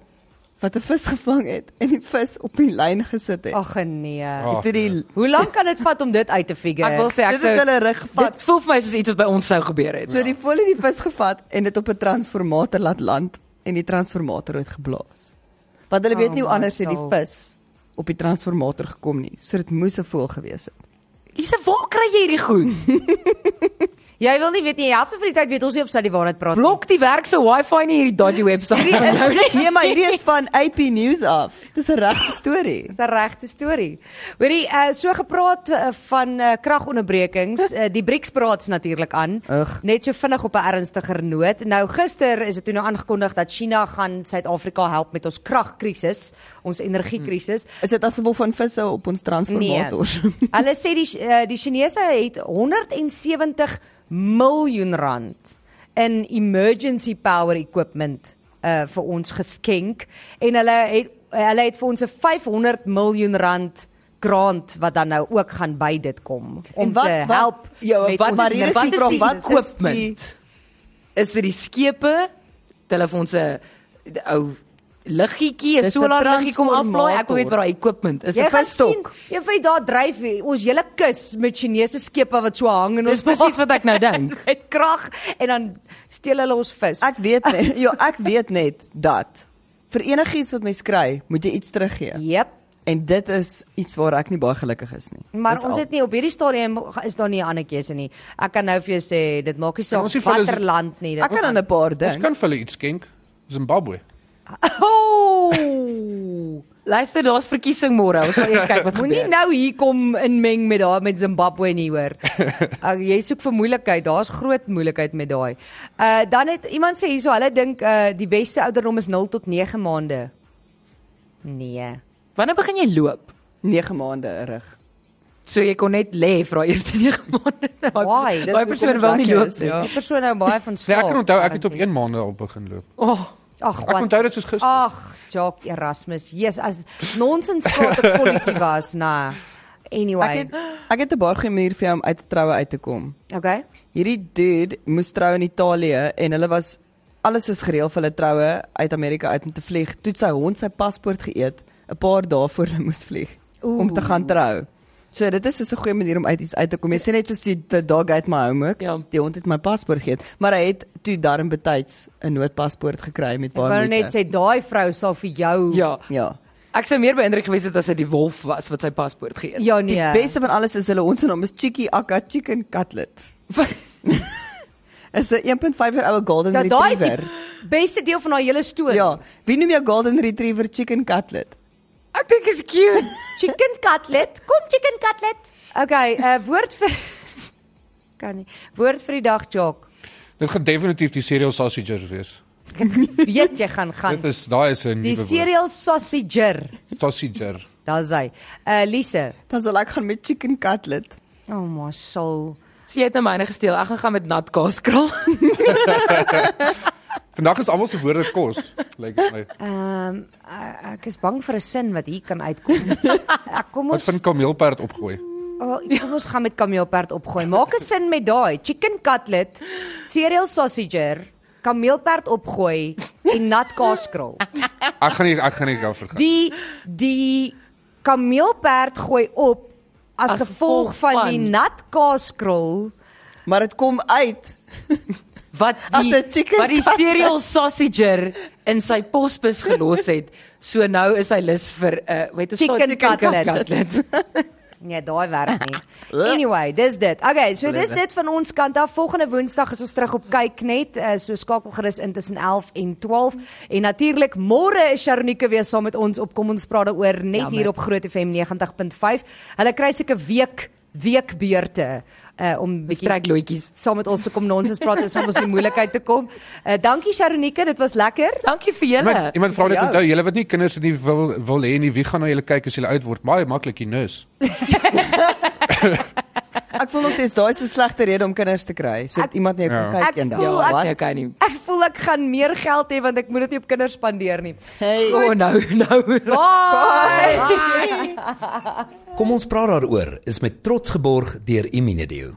S3: wat 'n vis gevang het en die vis op die lyn gesit het.
S2: Ag nee.
S5: Ag,
S3: Dit het die
S2: Hoe lank kan dit vat om dit uit te figure?
S4: Ek wil sê ek
S3: dit het
S4: sou
S3: hulle Ja. rug
S4: Ja, Dit
S3: gevat.
S4: voel vir my soos iets wat by ons sou gebeur het.
S3: So die voël het die vis gevat en dit op 'n transformator laat land en die transformator het geblaas. Want hulle weet
S2: Oh,
S3: nie hoe
S2: my
S3: anders het die
S2: soul.
S3: vis op die transformator gekom nie. So dit moes 'n voël gewees het.
S4: Lisa, waar kry jy hierdie goed?
S2: Jy wil nie weet nie. Die helfte van die tyd weet ons nie of sy die waarheid praat nie.
S4: Blok die werk se Wi-Fi nie hierdie dodgy webwerf [laughs]
S3: Hierdie
S4: van jou nie.
S3: is, nee, maar hierdie is van AP News af. Dis 'n regte storie.
S2: Dis 'n regte storie. Hoorie, uh, so gepraat uh, van uh, kragonderbrekings, uh, die BRICS praats natuurlik aan.
S3: Ugh.
S2: Net so vinnig op 'n ernstiger noot. Nou gister is dit toe nou aangekondig dat China gaan Suid-Afrika help met ons kragkrisis, ons energiekrisis.
S3: Is dit as gevolg van visse op ons transformators? Nee.
S2: [laughs] Hulle sê die uh, die Chinese het 170 miljoen rand in emergency power equipment uh vir ons geskenk en hulle het hulle het vir ons 'n 500 miljoen rand grant wat dan nou ook gaan by dit kom om
S3: En wat-
S2: te
S3: wat-
S2: help
S4: Ja,
S2: met
S4: wat
S2: ons
S4: maar hier is
S2: energie-
S4: die vraag, wat koop
S3: Is
S4: mint? Is dit die skepe? Telefons se die ou liggietjie, 'n
S3: Dis 'n
S4: solar liggie kom aflaai. Ek wil weet wat daai equipment is.
S3: Dis 'n
S2: Jy gaan
S3: visstok.
S2: sien, Jy weet daar dryf hier ons hele kus met Chinese skepe wat so hang en
S4: Dis
S2: ons
S4: presies wat ek
S2: [laughs]
S4: nou dink.
S2: met krag en dan steel hulle ons vis.
S3: Ek weet net, [laughs] ja, ek weet net dat vir enigiets wat mens kry, moet jy iets teruggee.
S2: Jep.
S3: En dit is iets waar ek nie baie gelukkig is nie.
S2: Maar
S3: Dis
S2: ons
S3: al.
S2: het nie op hierdie stadium is daar nie 'n ander keuse nie. Ek kan nou vir jou sê dit maak nie saak
S5: ons nie vir hulle-
S2: watter land nie. Dit-
S3: Ek kan
S2: [laughs]
S3: aan 'n paar
S5: Ons
S3: ding.
S5: kan vir hulle iets skenk. Zimbabwe.
S2: Oh!
S4: Luister, daar's verkiesing môre. Ons sal eers kyk
S2: [laughs]
S4: wat
S2: Moenie
S4: gebeur.
S2: nou hier kom inmeng met daai met Zimbabwe nie
S5: [laughs]
S2: hoor. Ag jy soek vir moeilikheid. Daar's groot moeilikheid met daai. Uh dan het iemand sê hierso hulle dink uh die beste ouderdom is 0 tot 9 maande. Nee.
S4: Wanneer begin jy loop?
S3: 9 maande rug.
S4: So jy kon net lê vir daai eerste [laughs] 9 maande.
S2: Why?
S4: Daai-
S2: Dis
S4: Daai persoon wil nie loop nie.
S3: Ja.
S2: Die persoon nou baie van
S5: Nee,
S2: staal.
S5: ek kan onthou ek het op 1 maand al begin loop.
S4: Oh,
S2: Ag,
S5: Ek
S2: wat
S5: onthou dit soos gister.
S2: Ag, Jock Erasmus. Yes, as nonsens praat 'n
S5: [laughs]
S2: kolletjie was, na. Anyway.
S3: Ek het ek het 'n baie goeie manier vir jou om uit te troue uit te kom.
S2: okay.
S3: Hierdie dude moes trou in Italië en hulle was alles is gereël vir hulle troue uit Amerika uit om te vlieg. Toe het sy hond sy paspoort geëet 'n paar dae voor hulle moes vlieg Oeh. om te gaan trou. So dit is so 'n goeie manier om uit iets uit te kom. Jy sê net soos die the dog ate my homework.
S4: Ja.
S3: Die hond het my paspoort geëet, maar hy het toe darm betyds 'n noodpaspoort gekry met
S2: Ek wou
S3: baie
S2: net
S3: moeite.
S2: sê daai vrou sal vir jou
S4: ja.
S3: Ja.
S4: Ek sou meer beïndruk gewees het as dit die wolf was wat sy paspoort gegee het.
S2: Ja
S3: Die
S2: nee.
S3: beste van alles is hulle ons se naam is Chiki Akka Chicken
S2: [laughs]
S3: Cutlet. Is 'n 1.5 jaar oue golden
S2: ja, daai is
S3: retriever.
S2: die beste deel van haar hele storie.
S3: Ja, wie noem jou golden retriever chicken cutlet?
S4: Ek dink is cute.
S2: [laughs] Chicken cutlet. Kom chicken cutlet. Okay, uh woord vir [laughs] kan nie. Woord vir die dag, Jock. [laughs]
S5: Dit gaan definitief die cereal sausages wees.
S2: Weet jy gaan gaan.
S5: Dit is daai is 'n
S2: Die
S5: nuwe woord.
S2: cereal sausager.
S5: Sausager.
S2: Daar's hy. Uh Lise.
S3: Dan sal ek gaan met chicken cutlet.
S2: Oh my soul.
S4: So, jy het nou myne gesteel. Ek gaan gaan met nat kaas krul. [laughs]
S5: Vandag is almal se woorde kos. Lyk dit my.
S2: Ehm uh, ek is bang vir 'n sin wat hier kan
S5: [laughs]
S2: uitkom. Ek kom
S5: Wat
S2: ons
S5: van kameelperd opgooi? [laughs]
S2: oh, kom ons gaan met kameelperd opgooi. Maak 'n sin met daai chicken cutlet, cereal sausager, kameelperd opgooi en nat kaaskrol.
S5: Ek gaan nie ek gaan nie daarvoor gaan.
S2: Die die kameelperd gooi op as, as gevolg van, van die nat kaaskrol
S3: Maar dit kom uit
S4: wat
S3: As
S4: die
S3: 'n chicken
S4: wat die
S3: cutlet. [laughs]
S4: cereal sausager in sy posbus gelos het. So nou is hy lus vir 'n uh, weet jy
S2: Chicken cutlet.
S4: cutlet.
S2: [laughs] Nee, daai werk nie. Anyway, dis dit. Okay, so dis dit van ons kant af. Volgende Woensdag is ons terug op kyk net. Uh, so skakel gerus in tussen 11 en 12 en natuurlik môre is Sharnike weer saam met ons op Kom ons praat daaroor net
S4: Jammer.
S2: hier op Groot FM 90.5. Hulle kry seker week weekbeurte uh om
S4: Die
S2: bietjie
S4: strekloetjies.
S2: saam met ons te kom nonsens praat en soms die moeilikheid te kom. Uh dankie Sharnike, dit was lekker.
S4: Dankie vir julle.
S5: Iemand, iemand vra net
S3: Jou.
S5: onthou, julle wat nie kinders het nie wil wil hê nie, wie gaan na julle kyk as julle oud word? Baie maklik die nurse.
S3: Ek voel nog steeds daai is 'n slegte rede om kinders te kry, sodat iemand net
S5: Ja.
S3: kan kyk
S2: Ek
S3: eendag.
S2: voel
S4: Ja,
S2: ek-
S4: nee, kan nie.
S2: Ek voel ek gaan meer geld hê want ek moet dit nie op kinders spandeer [laughs] nie.
S3: Hey.
S4: O oh, nou nou.
S2: Bye.
S3: Bye. [laughs]
S6: Kom ons praat daaroor is met trots geborg deur Imunedio.